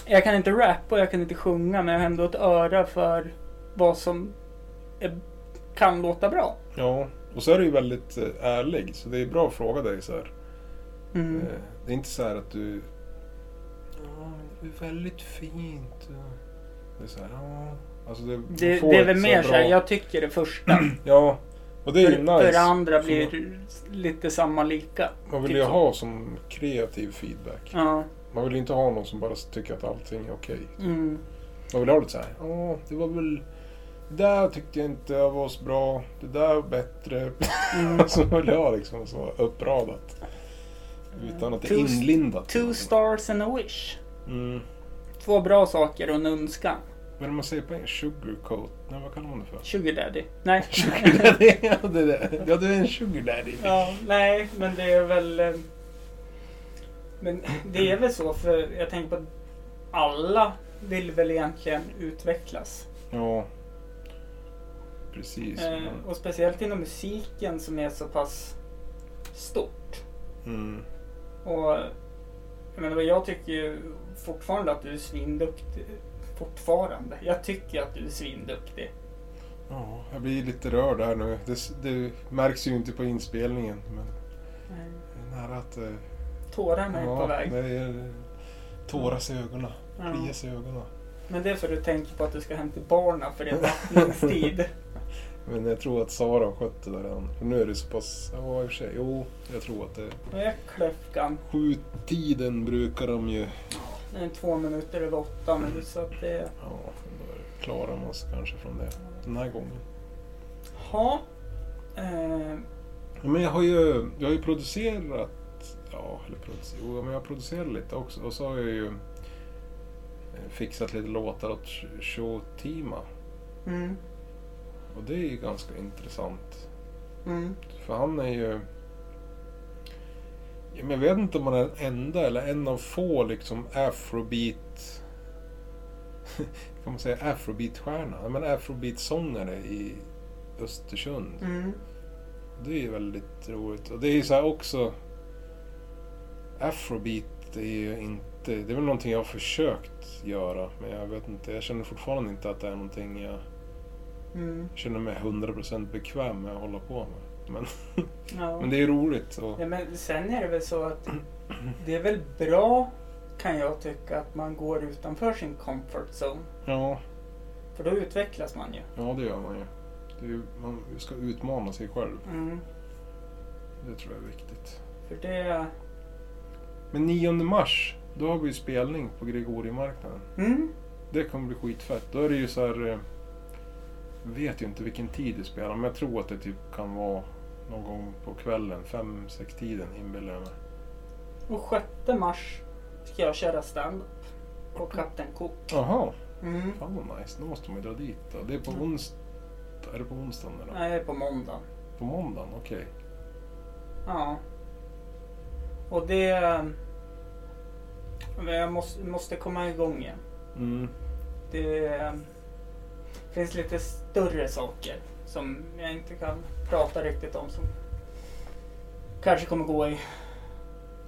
[SPEAKER 1] jag kan inte rappa och jag kan inte sjunga, men jag har ändå ett öra för vad som är, kan låta bra.
[SPEAKER 2] Ja, och så är du ju väldigt eh, ärlig. Så det är bra att fråga dig så här.
[SPEAKER 1] Mm.
[SPEAKER 2] Eh, Det är inte så här att du... Ja, men det är väldigt fint. Det är så här, ja... Alltså det, man
[SPEAKER 1] Det,
[SPEAKER 2] får
[SPEAKER 1] det är
[SPEAKER 2] ett
[SPEAKER 1] väl mer så här,
[SPEAKER 2] bra-
[SPEAKER 1] jag tycker det första.
[SPEAKER 2] Ja, och [CLEARS THROAT] det är ju
[SPEAKER 1] för, för det
[SPEAKER 2] nice.
[SPEAKER 1] andra
[SPEAKER 2] Så
[SPEAKER 1] blir lite samma lika.
[SPEAKER 2] Man vill
[SPEAKER 1] typ
[SPEAKER 2] ju
[SPEAKER 1] så.
[SPEAKER 2] ha som kreativ feedback.
[SPEAKER 1] Ja,
[SPEAKER 2] Man vill ju inte ha någon som bara tycker att allting är okej.
[SPEAKER 1] mm.
[SPEAKER 2] Man vill ha lite så här, ja, det var väl... Det där tyckte jag inte var så bra. Det där var bättre. [LAUGHS]
[SPEAKER 1] Mm.
[SPEAKER 2] så vill jag ha liksom så uppradat. Utan att det är
[SPEAKER 1] Two-
[SPEAKER 2] inlindat.
[SPEAKER 1] Two stars and a wish.
[SPEAKER 2] Mm.
[SPEAKER 1] Två bra saker och en önskan.
[SPEAKER 2] Vad är det man säger på engelska? Sugarcoat? Nej, vad kallar man det för? [LAUGHS]
[SPEAKER 1] Sugar daddy. Nej.
[SPEAKER 2] Sugardaddy, ja det där. Ja, du är en sugardaddy.
[SPEAKER 1] Ja, nej, men det är väl... eh, Men det är väl så, för jag tänker på att alla vill väl egentligen utvecklas.
[SPEAKER 2] Ja. Precis.
[SPEAKER 1] Eh, och speciellt inom musiken som är så pass stort.
[SPEAKER 2] Mm.
[SPEAKER 1] Och jag, menar, jag tycker ju fortfarande att du är svinduktig. Fortfarande. Jag tycker att du är svinduktig.
[SPEAKER 2] Ja, jag blir lite rörd här nu. Det, s- det märks ju inte på inspelningen. Men det är nära att... eh,
[SPEAKER 1] Tårarna är på väg.
[SPEAKER 2] det är tåras i ögonen.
[SPEAKER 1] Ja.
[SPEAKER 2] Klias i ögonen.
[SPEAKER 1] Men det är för att du tänker på att du ska hämta barnen för det är vattningstid.
[SPEAKER 2] Men jag tror att Sara har skött det där redan. För nu är det så pass... Ja, i och för sig. Jo, jag tror att det...
[SPEAKER 1] Och jag klöfkan.
[SPEAKER 2] Sju tiden brukar de ju...
[SPEAKER 1] Det är två minuter över åtta nu så att det...
[SPEAKER 2] Ja, då klarar man sig kanske från det. Den här gången.
[SPEAKER 1] Ja. Eh,
[SPEAKER 2] Ja, Men jag har ju, jag har ju producerat, ja, eller producerat, jo, men jag producerar lite också. Och så har jag ju eh, fixat lite låtar åt Sh- Shotima.
[SPEAKER 1] mm,
[SPEAKER 2] Och det är ju ganska intressant.
[SPEAKER 1] mm,
[SPEAKER 2] För han är ju... ja, men Jag vet inte om han är den enda eller en av få liksom afrobeat... [LAUGHS] kan man säga afrobeat-stjärna? Ja, men afrobeat-sångare i Östersund.
[SPEAKER 1] mm.
[SPEAKER 2] Det är ju väldigt roligt. Och det är ju så här också... Afrobeat är ju inte... Det är väl någonting jag har försökt göra. Men jag vet inte. Jag känner fortfarande inte att det är någonting jag
[SPEAKER 1] mm.
[SPEAKER 2] känner mig 100% bekväm med att hålla på med. Men, [LAUGHS]
[SPEAKER 1] Ja.
[SPEAKER 2] men det är roligt. Och,
[SPEAKER 1] ja, men sen är det väl så att det är väl bra kan jag tycka att man går utanför sin comfort zone.
[SPEAKER 2] ja,
[SPEAKER 1] För
[SPEAKER 5] För då utvecklas man ju.
[SPEAKER 2] Ja, det gör man ju. Det är ju man ska utmana sig själv.
[SPEAKER 5] Mm.
[SPEAKER 2] Det tror jag är viktigt.
[SPEAKER 5] För det...
[SPEAKER 2] Men 9 mars, då har vi ju spelning på Gregorimarknaden.
[SPEAKER 5] Mm.
[SPEAKER 2] Det kommer bli skitfett. Då är det ju så här... eh, vet ju inte vilken tid det spelar, men jag tror att det typ kan vara någon gång på kvällen, fem, sex tiden inbillar jag mig.
[SPEAKER 5] Och 6 mars ska jag köra stand på Kapten Cook.
[SPEAKER 2] Jaha,
[SPEAKER 5] Mm.
[SPEAKER 2] fan vad nice. Då måste man ju dra dit då. Det är på
[SPEAKER 5] Mm.
[SPEAKER 2] onsdag. Är det på onsdagen eller?
[SPEAKER 5] Nej, på måndag.
[SPEAKER 2] På måndagen, okej.
[SPEAKER 5] Ja. Och det... Men Jag måste, måste komma igång igen.
[SPEAKER 2] Mm.
[SPEAKER 5] Det eh, finns lite större saker som jag inte kan prata riktigt om som kanske kommer gå i,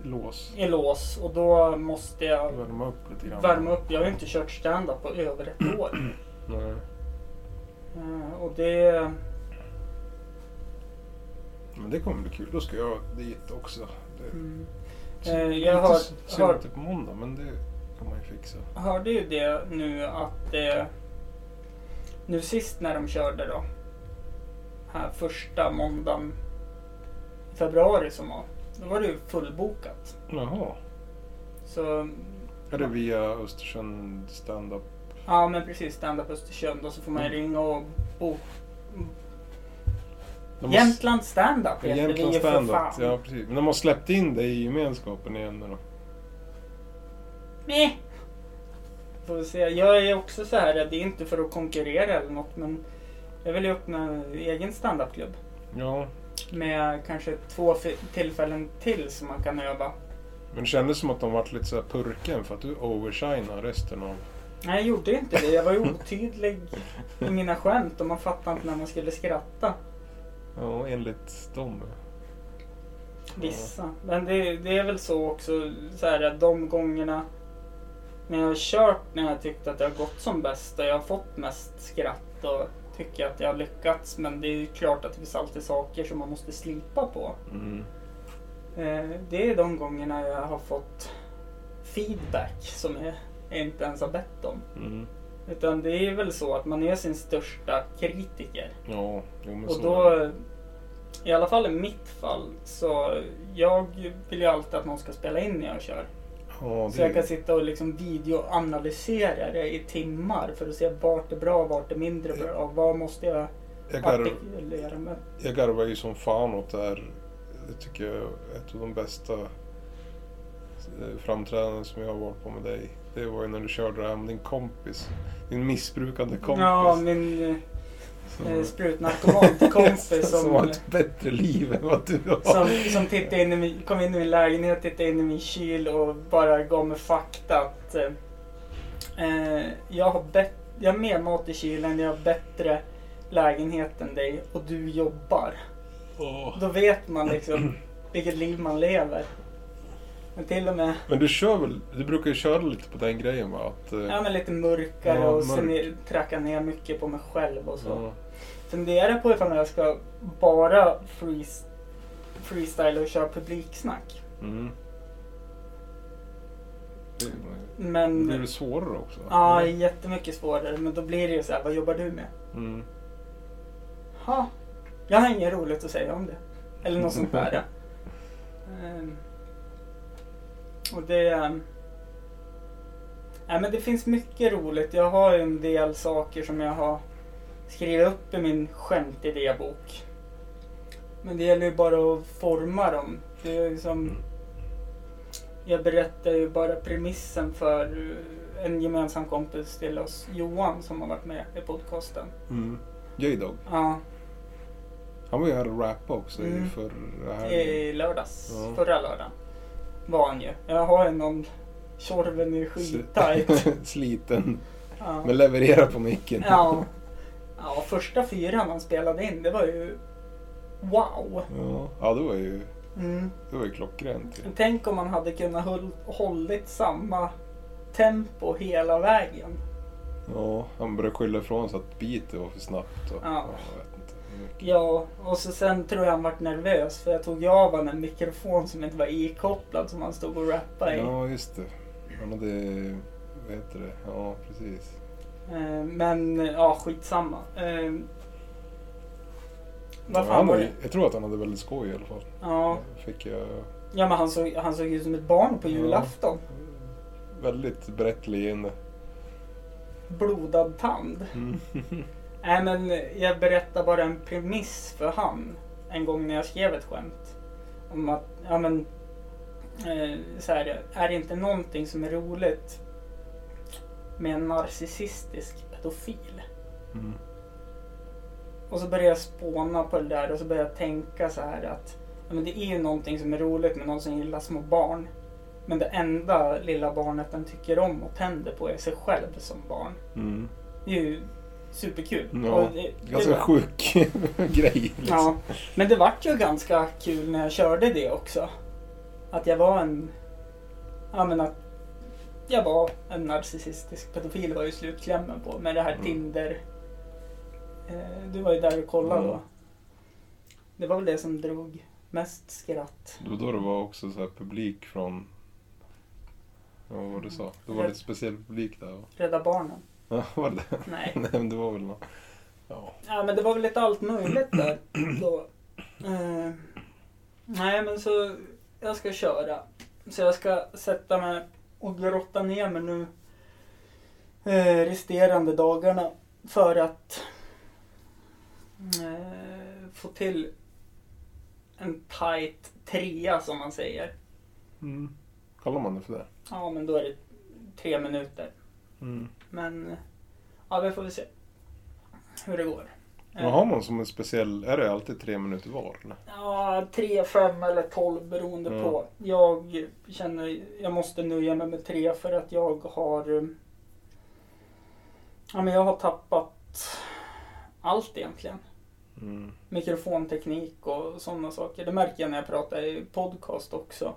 [SPEAKER 2] Lås.
[SPEAKER 5] i lås och då måste jag
[SPEAKER 2] Värma upp lite grann.
[SPEAKER 5] värma upp. Jag har ju inte kört stand-up på över ett år.
[SPEAKER 2] Nej.
[SPEAKER 5] Eh, Och det...
[SPEAKER 2] Men det kommer bli kul. Då ska jag dit också. Det...
[SPEAKER 5] Mm. Eh, jag har-
[SPEAKER 2] Synd
[SPEAKER 5] har-
[SPEAKER 2] att det är på måndag, men det kan man ju fixa.
[SPEAKER 5] hörde ju det nu att eh, nu sist när de körde då, här första måndagen i februari som var, då var det ju fullbokat.
[SPEAKER 2] Jaha.
[SPEAKER 5] Så
[SPEAKER 2] Är det via Östersund stand-up?
[SPEAKER 5] ja, men precis, stand-up Östersund och så får man ju
[SPEAKER 2] Mm.
[SPEAKER 5] ringa och bo.
[SPEAKER 2] De har-
[SPEAKER 5] Jämtland stand-up heter vi
[SPEAKER 2] Jämtland
[SPEAKER 5] ju för fan.
[SPEAKER 2] stand-up. Ja, precis. Men de har släppt in dig i gemenskapen igen nu då.
[SPEAKER 5] Nej. Får vi se. Jag är också så här, det är inte för att konkurrera eller något men jag vill ju öppna egen stand-up-klubb.
[SPEAKER 2] Ja.
[SPEAKER 5] med kanske två fi- tillfällen till som man kan öva.
[SPEAKER 2] Men det kändes som att de varit lite så här purken för att du overshinade resten [LAUGHS] av...
[SPEAKER 5] Nej, jag gjorde inte det. Jag var ju otydlig i mina skämt och man fattade inte när man skulle skratta.
[SPEAKER 2] Ja, enligt dem.
[SPEAKER 5] Vissa. Men det, det är väl så också, så här, att de gångerna när jag har kört när jag tyckt att det har gått som bäst och jag har fått mest skratt och tycker att jag har lyckats. Men det är ju klart att det finns alltid saker som man måste slipa på.
[SPEAKER 2] Mm.
[SPEAKER 5] Eh, Det är de gångerna jag har fått feedback som jag jag inte ens har bett om.
[SPEAKER 2] Mm.
[SPEAKER 5] Utan det är väl så att man är sin största kritiker.
[SPEAKER 2] Ja, jo men
[SPEAKER 5] Och
[SPEAKER 2] så.
[SPEAKER 5] då, i alla fall i mitt fall, så jag vill ju alltid att någon ska spela in när jag kör.
[SPEAKER 2] Ja,
[SPEAKER 5] Så
[SPEAKER 2] det...
[SPEAKER 5] jag kan sitta och liksom videoanalysera det i timmar för att se vart det är bra, vart det är mindre bra, vad måste jag
[SPEAKER 2] jag garv...
[SPEAKER 5] artikulera med.
[SPEAKER 2] jag garvar ju som fan åt det här. Det tycker jag är ett av de bästa eh, framträdanden som jag har varit på med dig. Det var ju när du körde det här med din kompis. Din missbrukande kompis.
[SPEAKER 5] Ja, min
[SPEAKER 2] som... [LAUGHS]
[SPEAKER 5] eh, sprutnarkoman-kompis
[SPEAKER 2] som
[SPEAKER 5] som,
[SPEAKER 2] har ett bättre liv än vad du har.
[SPEAKER 5] som, som tittade in i min, kom in i min lägenhet, tittade in i min kyl och bara gav mig fakta att eh, jag, har bet- jag har mer mat i kylen, jag har bättre lägenhet än dig och du jobbar.
[SPEAKER 2] Åh.
[SPEAKER 5] Då vet
[SPEAKER 2] [CLEARS THROAT]
[SPEAKER 5] man liksom vilket liv man lever. Men till och med
[SPEAKER 2] Men du kör väl, du brukar ju köra lite på den grejen va? Att, eh,
[SPEAKER 5] ja, men lite mörkare
[SPEAKER 2] Ja,
[SPEAKER 5] och sen
[SPEAKER 2] mörk.
[SPEAKER 5] är- trackar ner mycket på mig själv och så.
[SPEAKER 2] ja.
[SPEAKER 5] Funderar på ifall jag ska bara frees- freestyla och köra publiksnack.
[SPEAKER 2] Mm. Det, det
[SPEAKER 5] Men
[SPEAKER 2] blir väl svårare också?
[SPEAKER 5] Ja, jättemycket svårare. Men då blir det ju så här, vad jobbar du med?
[SPEAKER 2] Mm.
[SPEAKER 5] Ha, jag har inget roligt att säga om det. Eller något sånt där. Ehm, och det... ehm, Nej, men det finns mycket roligt. Jag har ju en del saker som jag har skrivit upp i min skämtidébok. Men det gäller ju bara att forma dem. Det är ju som... Jag berättar ju bara premissen för eh, en gemensam kompis till oss, Johan, som har varit med i podcasten.
[SPEAKER 2] [LAUGHS] Mm. J-Dog,
[SPEAKER 5] Ja,
[SPEAKER 2] han var ju här och rappade också
[SPEAKER 5] Mm.
[SPEAKER 2] i förra helgen.
[SPEAKER 5] i lördags,
[SPEAKER 2] Ja.
[SPEAKER 5] förra lördagen, var han ju. Jag har ju någon, Tjorven
[SPEAKER 2] [LAUGHS]
[SPEAKER 5] är skittajt.
[SPEAKER 2] Sliten,
[SPEAKER 5] Ja.
[SPEAKER 2] men levererar på micken.
[SPEAKER 5] Ja. ja, första fyran han spelade in, det var ju wow.
[SPEAKER 2] Ja, ja det, var ju,
[SPEAKER 5] Mm.
[SPEAKER 2] det var ju klockrent. ju.
[SPEAKER 5] Tänk om man hade kunnat håll, hållit samma tempo hela vägen.
[SPEAKER 2] Ja, han började skylla ifrån sig att beatet var för snabbt. Och,
[SPEAKER 5] Ja.
[SPEAKER 2] Jag vet inte. hur mycket.
[SPEAKER 5] Ja, och så sen tror jag han vart nervös för jag tog ju av honom en mikrofon som inte var ikopplad som han stod och rappade i.
[SPEAKER 2] Ja, just det. Han hade, vad heter det, ja precis.
[SPEAKER 5] Eh, Men eh, ja, skitsamma. Eh, Vad fan
[SPEAKER 2] han
[SPEAKER 5] var
[SPEAKER 2] hade-
[SPEAKER 5] det?
[SPEAKER 2] Jag tror att han hade väldigt skoj i alla fall.
[SPEAKER 5] Ja,
[SPEAKER 2] Fick jag
[SPEAKER 5] ja men han såg, han såg ut som ett barn på
[SPEAKER 2] Ja.
[SPEAKER 5] julafton.
[SPEAKER 2] väldigt brett leende.
[SPEAKER 5] Blodad tand.
[SPEAKER 2] Mm.
[SPEAKER 5] Nej men jag berättar bara en premiss för han. En gång när jag skrev ett skämt. Om att, ja men. Eh, så här, är det inte någonting som är roligt med en narcissistisk pedofil?
[SPEAKER 2] Mm.
[SPEAKER 5] Och så började jag spåna på det där och så började jag tänka så här att ja, men det är ju någonting som är roligt med någon som gillar små barn. Men det enda lilla barnet den tycker om och tänder på är sig själv som barn.
[SPEAKER 2] Mm.
[SPEAKER 5] Det är ju superkul.
[SPEAKER 2] Ja,
[SPEAKER 5] Och det- det
[SPEAKER 2] Ganska
[SPEAKER 5] var-
[SPEAKER 2] sjuk [LAUGHS] grej. Liksom.
[SPEAKER 5] Ja, men det vart ju ganska kul när jag körde det också. Att jag var en... Ja men att jag var en narcissistisk pedofil var ju slutklämmen på. Med det här
[SPEAKER 2] Mm.
[SPEAKER 5] Tinder... Eh, du var ju där och kollade
[SPEAKER 2] Mm.
[SPEAKER 5] då. Det var väl det som drog mest skratt.
[SPEAKER 2] Det var då det var också så här publik från... Ja, vad var det du sa? Det var lite speciell publik där va?
[SPEAKER 5] Rädda Barnen.
[SPEAKER 2] Ja, [LAUGHS] var det det?
[SPEAKER 5] Nej.
[SPEAKER 2] Nej, men det var väl nå- Ja.
[SPEAKER 5] Ja men det var väl lite allt möjligt där då. Eh, nej men så jag ska köra. Så jag ska sätta mig och grotta ner mig nu eh, resterande dagarna för att eh, få till en tight trea som man säger.
[SPEAKER 2] Mm. Kallar man det för det?
[SPEAKER 5] Ja men då är det tre minuter.
[SPEAKER 2] Mm.
[SPEAKER 5] Men eh, ja vi får väl se hur det går. Eh,
[SPEAKER 2] Men har man som en speciell... Är det alltid tre minuter var? Eller?
[SPEAKER 5] Ja, 3, 5 eller 12 beroende
[SPEAKER 2] Ja.
[SPEAKER 5] på. Jag känner jag måste nöja mig med 3 för att jag har eh, ja, men jag har tappat allt egentligen.
[SPEAKER 2] Mm.
[SPEAKER 5] Mikrofonteknik och sådana saker. Det märker jag när jag pratar i podcast också.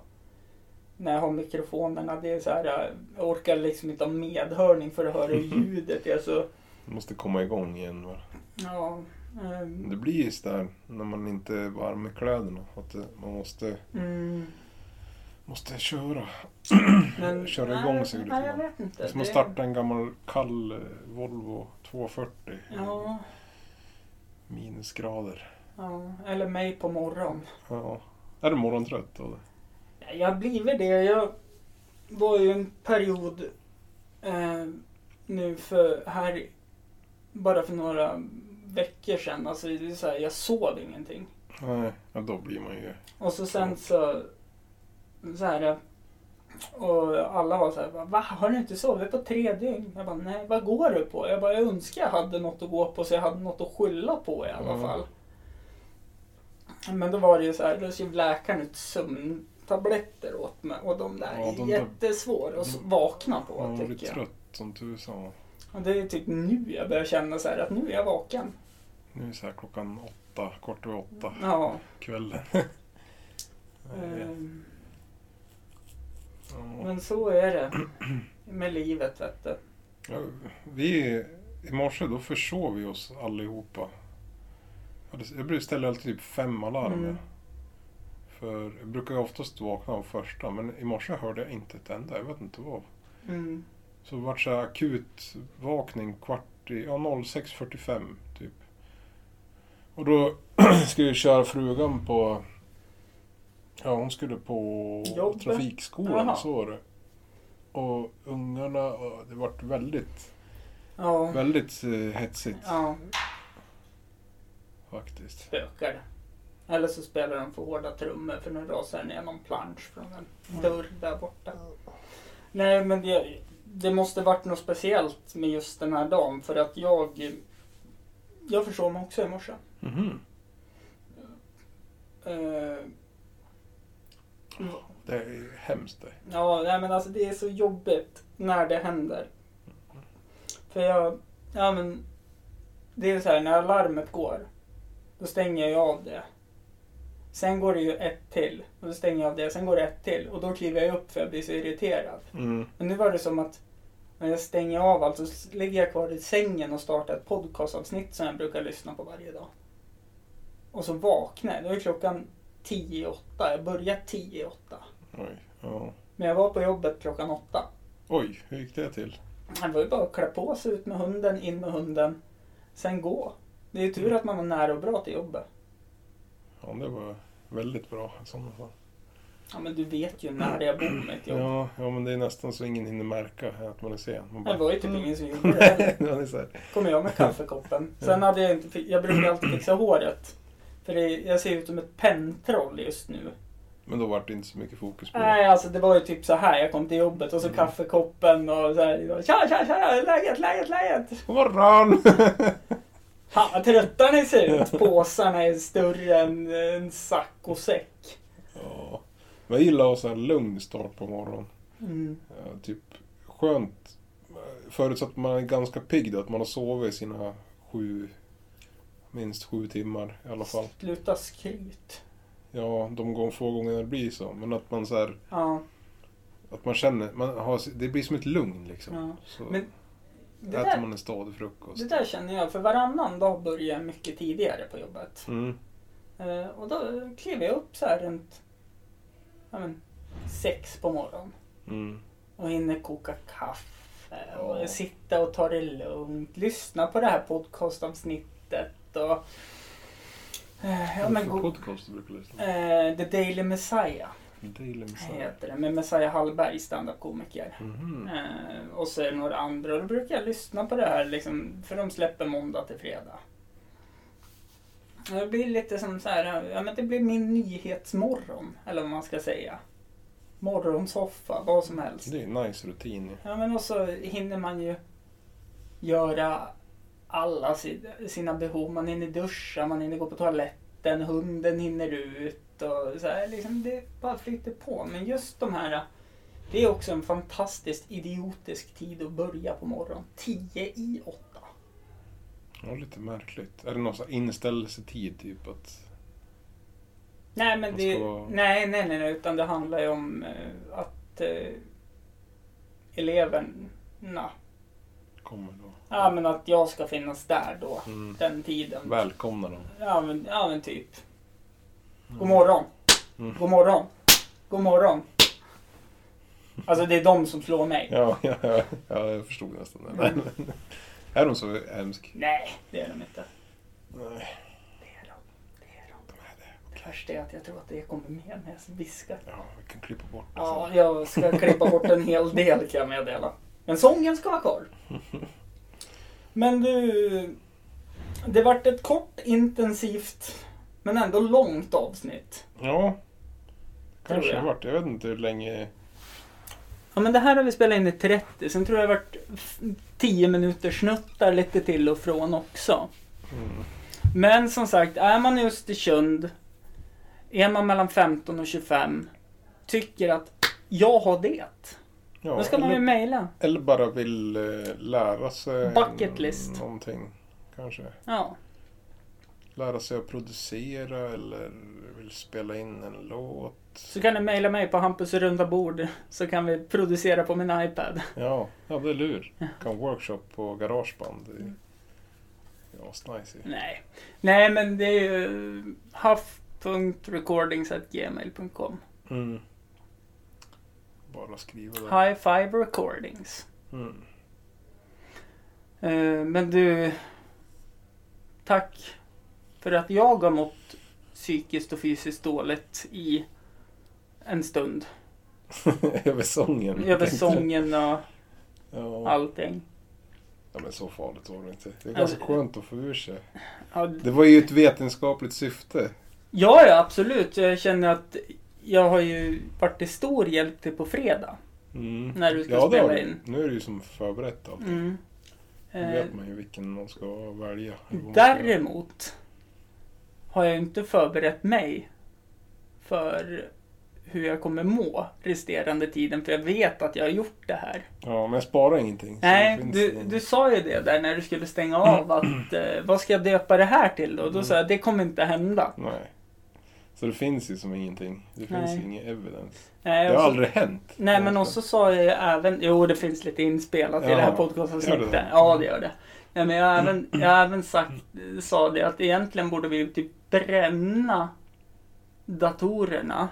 [SPEAKER 5] När jag har mikrofonerna. Det är så här, jag- jag orkar liksom inte ha medhörning för att höra
[SPEAKER 2] Mm.
[SPEAKER 5] ljudet. Jag är så,
[SPEAKER 2] Det måste komma igång igen va?
[SPEAKER 5] ja, ehm,
[SPEAKER 2] Det blir just där när man inte är varm i kläderna. Att det- man måste,
[SPEAKER 5] mm,
[SPEAKER 2] måste köra.
[SPEAKER 5] [CLEARS THROAT] men,
[SPEAKER 2] Köra igång
[SPEAKER 5] nej,
[SPEAKER 2] sig lite
[SPEAKER 5] Nej, jag
[SPEAKER 2] grann.
[SPEAKER 5] vet inte.
[SPEAKER 2] Det är som att
[SPEAKER 5] Det-
[SPEAKER 2] starta en gammal kall eh, Volvo 240.
[SPEAKER 5] Ja,
[SPEAKER 2] Minusgrader.
[SPEAKER 5] ja, eller mig på morgon.
[SPEAKER 2] Ja. Är du morgontrött då?
[SPEAKER 5] Jag har blivit det. Jag var ju en period eh, nu för här bara för några veckor sedan. Alltså det är så här, jag sov ingenting.
[SPEAKER 2] Nej, ja, då blir man ju...
[SPEAKER 5] Och så sen så, så här, och alla var så här, va? Har du inte sovit på tre dygn? Jag bara, nej vad går du på? Jag bara, jag önskar jag hade något att gå på så jag hade något att skylla på i alla
[SPEAKER 2] Mm.
[SPEAKER 5] fall. Men då var det ju så här, då skrev läkaren ut sömntabletter åt mig och de där
[SPEAKER 2] Ja,
[SPEAKER 5] är
[SPEAKER 2] de där-
[SPEAKER 5] jättesvåra att
[SPEAKER 2] de-
[SPEAKER 5] vakna på
[SPEAKER 2] Man blir
[SPEAKER 5] tycker jag.
[SPEAKER 2] trött som tusan. va.
[SPEAKER 5] Och det är typ nu jag börjar känna så här att nu är jag vaken.
[SPEAKER 2] Nu är det så här klockan åtta, kvart över åtta,
[SPEAKER 5] Ja.
[SPEAKER 2] kvällen. [LAUGHS] Nej,
[SPEAKER 5] ehm,
[SPEAKER 2] ja.
[SPEAKER 5] Men så är det med livet vet du.
[SPEAKER 2] Ja, Vi, i morse då försov vi oss allihopa. Jag hade- Jag brukar ställa alltid typ fem alarm.
[SPEAKER 5] Mm.
[SPEAKER 2] jag. För jag brukar ju oftast vakna av första, men i morse hörde jag inte ett enda. Jag vet inte vad.
[SPEAKER 5] Mm.
[SPEAKER 2] Så det vart så här akut vakning kvart i, ja 06.45 typ. Och då [CLEARS THROAT] skulle jag köra frugan på, ja hon skulle på
[SPEAKER 5] Jobbet.
[SPEAKER 2] trafikskolan,
[SPEAKER 5] Jaha.
[SPEAKER 2] så var det. Och ungarna, och det vart väldigt,
[SPEAKER 5] Ja.
[SPEAKER 2] väldigt eh, hetsigt
[SPEAKER 5] Ja,
[SPEAKER 2] faktiskt.
[SPEAKER 5] spökar. Eller så spelar de för hårda trummor för nu rasar den igenom plansch från en dörr där borta. Nej men det, det måste varit något speciellt med just den här dagen för att jag Jag försov mig också i morse.
[SPEAKER 2] Mhm.
[SPEAKER 5] Eh,
[SPEAKER 2] Det är hemskt det.
[SPEAKER 5] Ja, nej, men alltså det är så jobbigt när det händer. För jag, ja men, det är så här när larmet går, då stänger jag av det. Sen går det ju ett till, och då stänger jag av det, sen går det ett till och då kliver jag upp för jag blir så irriterad.
[SPEAKER 2] Mm.
[SPEAKER 5] Men nu var det som att när jag stänger av allt så s- ligger jag kvar i sängen och startar ett podcastavsnitt som jag brukar lyssna på varje dag. Och så vaknar jag, då är klockan tio i åtta, jag börjar tio i åtta.
[SPEAKER 2] Oj, ja.
[SPEAKER 5] Men jag var på jobbet klockan åtta.
[SPEAKER 2] Oj, hur gick det till?
[SPEAKER 5] Det var ju bara att klä på sig, ut med hunden, in med hunden. Sen gå. Det är ju tur att man var nära och bra till jobbet.
[SPEAKER 2] Ja, det var väldigt bra i sådana fall.
[SPEAKER 5] Ja men du vet ju när jag bor mitt jobb.
[SPEAKER 2] Ja, ja, men det är nästan så ingen hinner märka att man är sen. Man
[SPEAKER 5] Det
[SPEAKER 2] bara...
[SPEAKER 5] var ju typ
[SPEAKER 2] [LAUGHS]
[SPEAKER 5] ingen som gjorde det heller.
[SPEAKER 2] Ja, det är så här.
[SPEAKER 5] kommer jag med kaffekoppen. Sen hade jag inte, jag brukar alltid fixa håret. För det, jag ser ut som ett penntroll just nu.
[SPEAKER 2] Men då var det inte så mycket fokus på det.
[SPEAKER 5] Nej, alltså det var ju typ så här. Jag kom till jobbet och så
[SPEAKER 2] Mm.
[SPEAKER 5] kaffekoppen och så här. Tja, tja, tja, läget, läget, läget.
[SPEAKER 2] God morgon!
[SPEAKER 5] Fan vad trötta ni ser ut. Påsarna är större än en sack och säck.
[SPEAKER 2] [LAUGHS] ja. Men jag gillar att ha så här lugn start på morgonen.
[SPEAKER 5] Mm.
[SPEAKER 2] Ja, typ skönt. Förutsatt att man är ganska pigg då, att man har sovit sina sju, minst sju timmar i alla fall.
[SPEAKER 5] Sluta skryt.
[SPEAKER 2] Ja, de gång- få gångerna det blir så. Men att man så här,
[SPEAKER 5] Ja,
[SPEAKER 2] att man känner, man har, det blir som ett lugn liksom.
[SPEAKER 5] ja.
[SPEAKER 2] Så
[SPEAKER 5] Men Det
[SPEAKER 2] äter
[SPEAKER 5] där,
[SPEAKER 2] man en stadig frukost.
[SPEAKER 5] det där känner jag, för varannan dag börjar jag mycket tidigare på jobbet.
[SPEAKER 2] Mm.
[SPEAKER 5] Eh, Och då klev jag upp så här runt ja, men, sex på morgonen
[SPEAKER 2] Mm.
[SPEAKER 5] och hinner koka kaffe och
[SPEAKER 2] Ja.
[SPEAKER 5] sitta och ta det lugnt, lyssna på det här podcastavsnittet och eh, ja, men,
[SPEAKER 2] Vilken
[SPEAKER 5] go-
[SPEAKER 2] podcast du brukar lyssna på?
[SPEAKER 5] eh, The Daily Messiah
[SPEAKER 2] Daily Messiah.
[SPEAKER 5] heter det med Messiah Hallberg, standup-komiker.
[SPEAKER 2] Mhm.
[SPEAKER 5] Eh, och så är det några andra och då brukar jag lyssna på det här liksom, för de släpper måndag till fredag. Och Det blir lite som så här, ja men det blir min nyhetsmorgon, eller vad man ska säga. Morgonsoffa, vad som helst.
[SPEAKER 2] Det är en nice rutin. ju.
[SPEAKER 5] Ja men och så hinner man ju göra alla si- sina behov. Man hinner duscha, man hinner gå på toaletten, hunden hinner ut och så här. Liksom, det bara flyter på. Men just de här, det är också en fantastiskt idiotisk tid att börja på morgonen. 10 i 8.
[SPEAKER 2] Ja, lite märkligt. Är det någon sån här inställelsetid typ att...
[SPEAKER 5] Nej men
[SPEAKER 2] Man
[SPEAKER 5] det,
[SPEAKER 2] ska vara-
[SPEAKER 5] nej, nej nej nej, utan det handlar ju om eh, att eh, eleverna,
[SPEAKER 2] Kommer då.
[SPEAKER 5] ja men att jag ska finnas där då.
[SPEAKER 2] Mm.
[SPEAKER 5] Den tiden.
[SPEAKER 2] Välkomna dem.
[SPEAKER 5] Ja men, ja, men typ.
[SPEAKER 2] Mm.
[SPEAKER 5] God morgon.
[SPEAKER 2] Mm.
[SPEAKER 5] God morgon. God morgon. Alltså det är de som slår mig.
[SPEAKER 2] Ja, [LAUGHS] ja, ja, ja, jag förstod nästan det. Nej, men- [LAUGHS] Är de så hemsk?
[SPEAKER 5] Nej, det är de inte.
[SPEAKER 2] Nej.
[SPEAKER 5] Det är de. Det är de. Det värsta är att jag tror att det kommer med när jag viskar.
[SPEAKER 2] Ja, vi kan klippa bort det
[SPEAKER 5] Ja,
[SPEAKER 2] sen.
[SPEAKER 5] jag ska klippa bort en hel del kan jag meddela. Men sången ska
[SPEAKER 2] [LAUGHS]
[SPEAKER 5] vara kvar. Men du, det vart ett kort, intensivt, men ändå långt avsnitt.
[SPEAKER 2] Ja. Kanske
[SPEAKER 5] Tror
[SPEAKER 2] det
[SPEAKER 5] jag.
[SPEAKER 2] vart. Jag vet inte hur länge...
[SPEAKER 5] Ja men det här har vi spelat in i 30, sen tror jag det har varit f- 10 minuter snuttar lite till och från också.
[SPEAKER 2] Mm.
[SPEAKER 5] Men som sagt, är man i Östersund, är man mellan 15 och 25, tycker att jag har det.
[SPEAKER 2] Ja,
[SPEAKER 5] Då ska man ju
[SPEAKER 2] eller,
[SPEAKER 5] mejla.
[SPEAKER 2] eller bara vill eh, lära sig
[SPEAKER 5] Bucket list.
[SPEAKER 2] någonting. Kanske.
[SPEAKER 5] Ja.
[SPEAKER 2] Lära sig att producera eller vill spela in en låt.
[SPEAKER 5] Så kan du mejla mig på Hampus runda bord så kan vi producera på min iPad.
[SPEAKER 2] Ja, ja det är lur. Kan workshop på garageband. Det
[SPEAKER 5] Mm.
[SPEAKER 2] är ju asnice ju.
[SPEAKER 5] Nej, Nej men det är ju haff.recordings.gmail.com
[SPEAKER 2] Mm. Bara skriva det.
[SPEAKER 5] High Five Recordings.
[SPEAKER 2] Mm.
[SPEAKER 5] Eh, Men du, tack för att jag har mått psykiskt och fysiskt dåligt i en stund.
[SPEAKER 2] [LAUGHS] Över sången.
[SPEAKER 5] Över
[SPEAKER 2] tänkte jag.
[SPEAKER 5] sången och
[SPEAKER 2] Ja.
[SPEAKER 5] allting.
[SPEAKER 2] ja, men så farligt var det inte. Det är
[SPEAKER 5] Ja,
[SPEAKER 2] ganska
[SPEAKER 5] det-
[SPEAKER 2] skönt att få ur sig.
[SPEAKER 5] Ja,
[SPEAKER 2] Det var ju ett vetenskapligt syfte.
[SPEAKER 5] ja, ja, absolut. Jag känner att jag har ju varit till stor hjälp till på fredag.
[SPEAKER 2] Mm.
[SPEAKER 5] När du ska
[SPEAKER 2] ja, det
[SPEAKER 5] spela
[SPEAKER 2] har det.
[SPEAKER 5] in.
[SPEAKER 2] Nu är det ju som förberett allt.
[SPEAKER 5] Mm.
[SPEAKER 2] Nu
[SPEAKER 5] Eh,
[SPEAKER 2] vet man ju vilken man ska välja. eller vad man ska göra.
[SPEAKER 5] Däremot har jag inte förberett mig för hur jag kommer må resterande tiden för jag vet att jag har gjort det här.
[SPEAKER 2] Ja, men jag sparar ingenting. så det
[SPEAKER 5] Nej,
[SPEAKER 2] finns Mm.
[SPEAKER 5] du,
[SPEAKER 2] ingen-
[SPEAKER 5] du sa ju det där när du skulle stänga av att eh, vad ska jag döpa det här till då?
[SPEAKER 2] Mm.
[SPEAKER 5] Då sa jag det kommer inte hända.
[SPEAKER 2] Nej. Så det finns ju som ingenting. Det finns
[SPEAKER 5] Nej.
[SPEAKER 2] ju ingen evidens.
[SPEAKER 5] Nej,
[SPEAKER 2] Det
[SPEAKER 5] och
[SPEAKER 2] har
[SPEAKER 5] så,
[SPEAKER 2] aldrig hänt.
[SPEAKER 5] nej men också sa jag ju även, jo det finns lite inspelat i det här
[SPEAKER 2] Ja, gör
[SPEAKER 5] podcastavsnittet.
[SPEAKER 2] det?
[SPEAKER 5] Ja det gör det. Nej, men jag har även, jag har även sagt, sa det att egentligen borde vi typ bränna datorerna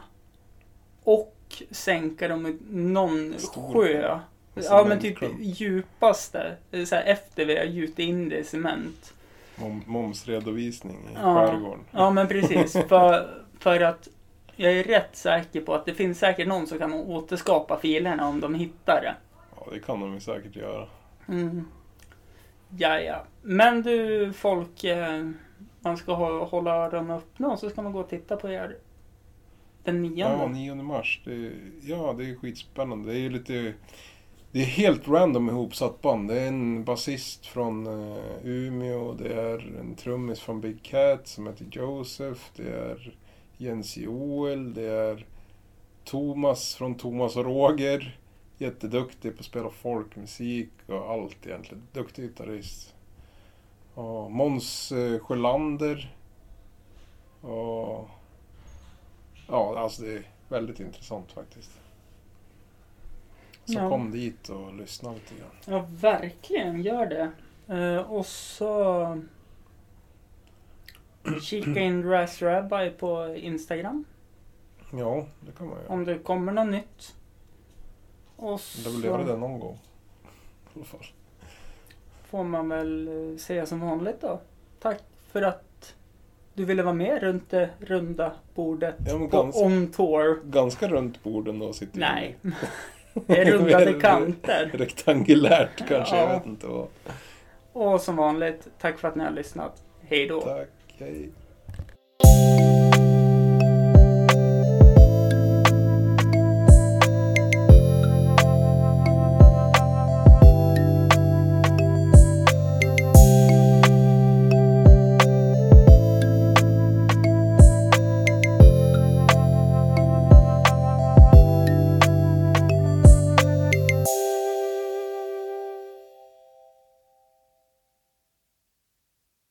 [SPEAKER 5] och sänka dem i någon
[SPEAKER 2] Stor.
[SPEAKER 5] sjö Ja men typ
[SPEAKER 2] Cementklump.
[SPEAKER 5] djupaste, eh, så här, efter vi har gjutit in det i cement.
[SPEAKER 2] Mom, momsredovisning i
[SPEAKER 5] Ja.
[SPEAKER 2] skärgården.
[SPEAKER 5] Ja men precis, för, för att jag är rätt säker på att det finns säkert någon som kan återskapa filerna om de hittar det.
[SPEAKER 2] Ja, det kan de ju säkert göra.
[SPEAKER 5] Mm. Ja, ja. Men du folk, eh, man ska ha, hålla öronen öppna och så ska man gå och titta på er den
[SPEAKER 2] Ja,
[SPEAKER 5] nionde.
[SPEAKER 2] 9 mars. Det är, ja, det är skitspännande. Det är ju lite... Det är helt random ihopsatt band. Det är en basist från eh, Umeå. Det är en trummis från Big Cat som heter Josef. Det är Jens Joel. Det är Thomas från Thomas och Roger. Jätteduktig på att spela folkmusik och allt egentligen. Duktig gitarrist. Och Måns eh, Sjölander. Och... Ja, alltså det är väldigt intressant faktiskt. Så
[SPEAKER 5] Ja.
[SPEAKER 2] kom dit och lyssna lite grann.
[SPEAKER 5] Ja, verkligen, gör det. Eh, och så kika in Raz Rabbi på Instagram
[SPEAKER 2] Ja, det kan man göra.
[SPEAKER 5] om det kommer något nytt. Och
[SPEAKER 2] Det vill göra
[SPEAKER 5] så
[SPEAKER 2] det någon gång. I alla fall.
[SPEAKER 5] får man väl eh, säga som vanligt då. Tack för att du ville vara med runt det runda bordet
[SPEAKER 2] Ja, men
[SPEAKER 5] på
[SPEAKER 2] ganska,
[SPEAKER 5] On Tour.
[SPEAKER 2] ganska runt borden då sitter vi.
[SPEAKER 5] Nej, [LAUGHS] det
[SPEAKER 2] [LAUGHS]
[SPEAKER 5] är rundade
[SPEAKER 2] Mer
[SPEAKER 5] kanter.
[SPEAKER 2] Rektangulärt kanske,
[SPEAKER 5] Ja.
[SPEAKER 2] jag vet inte vad.
[SPEAKER 5] Och som vanligt, tack för att ni har lyssnat. Hej då!
[SPEAKER 2] Tack, hej.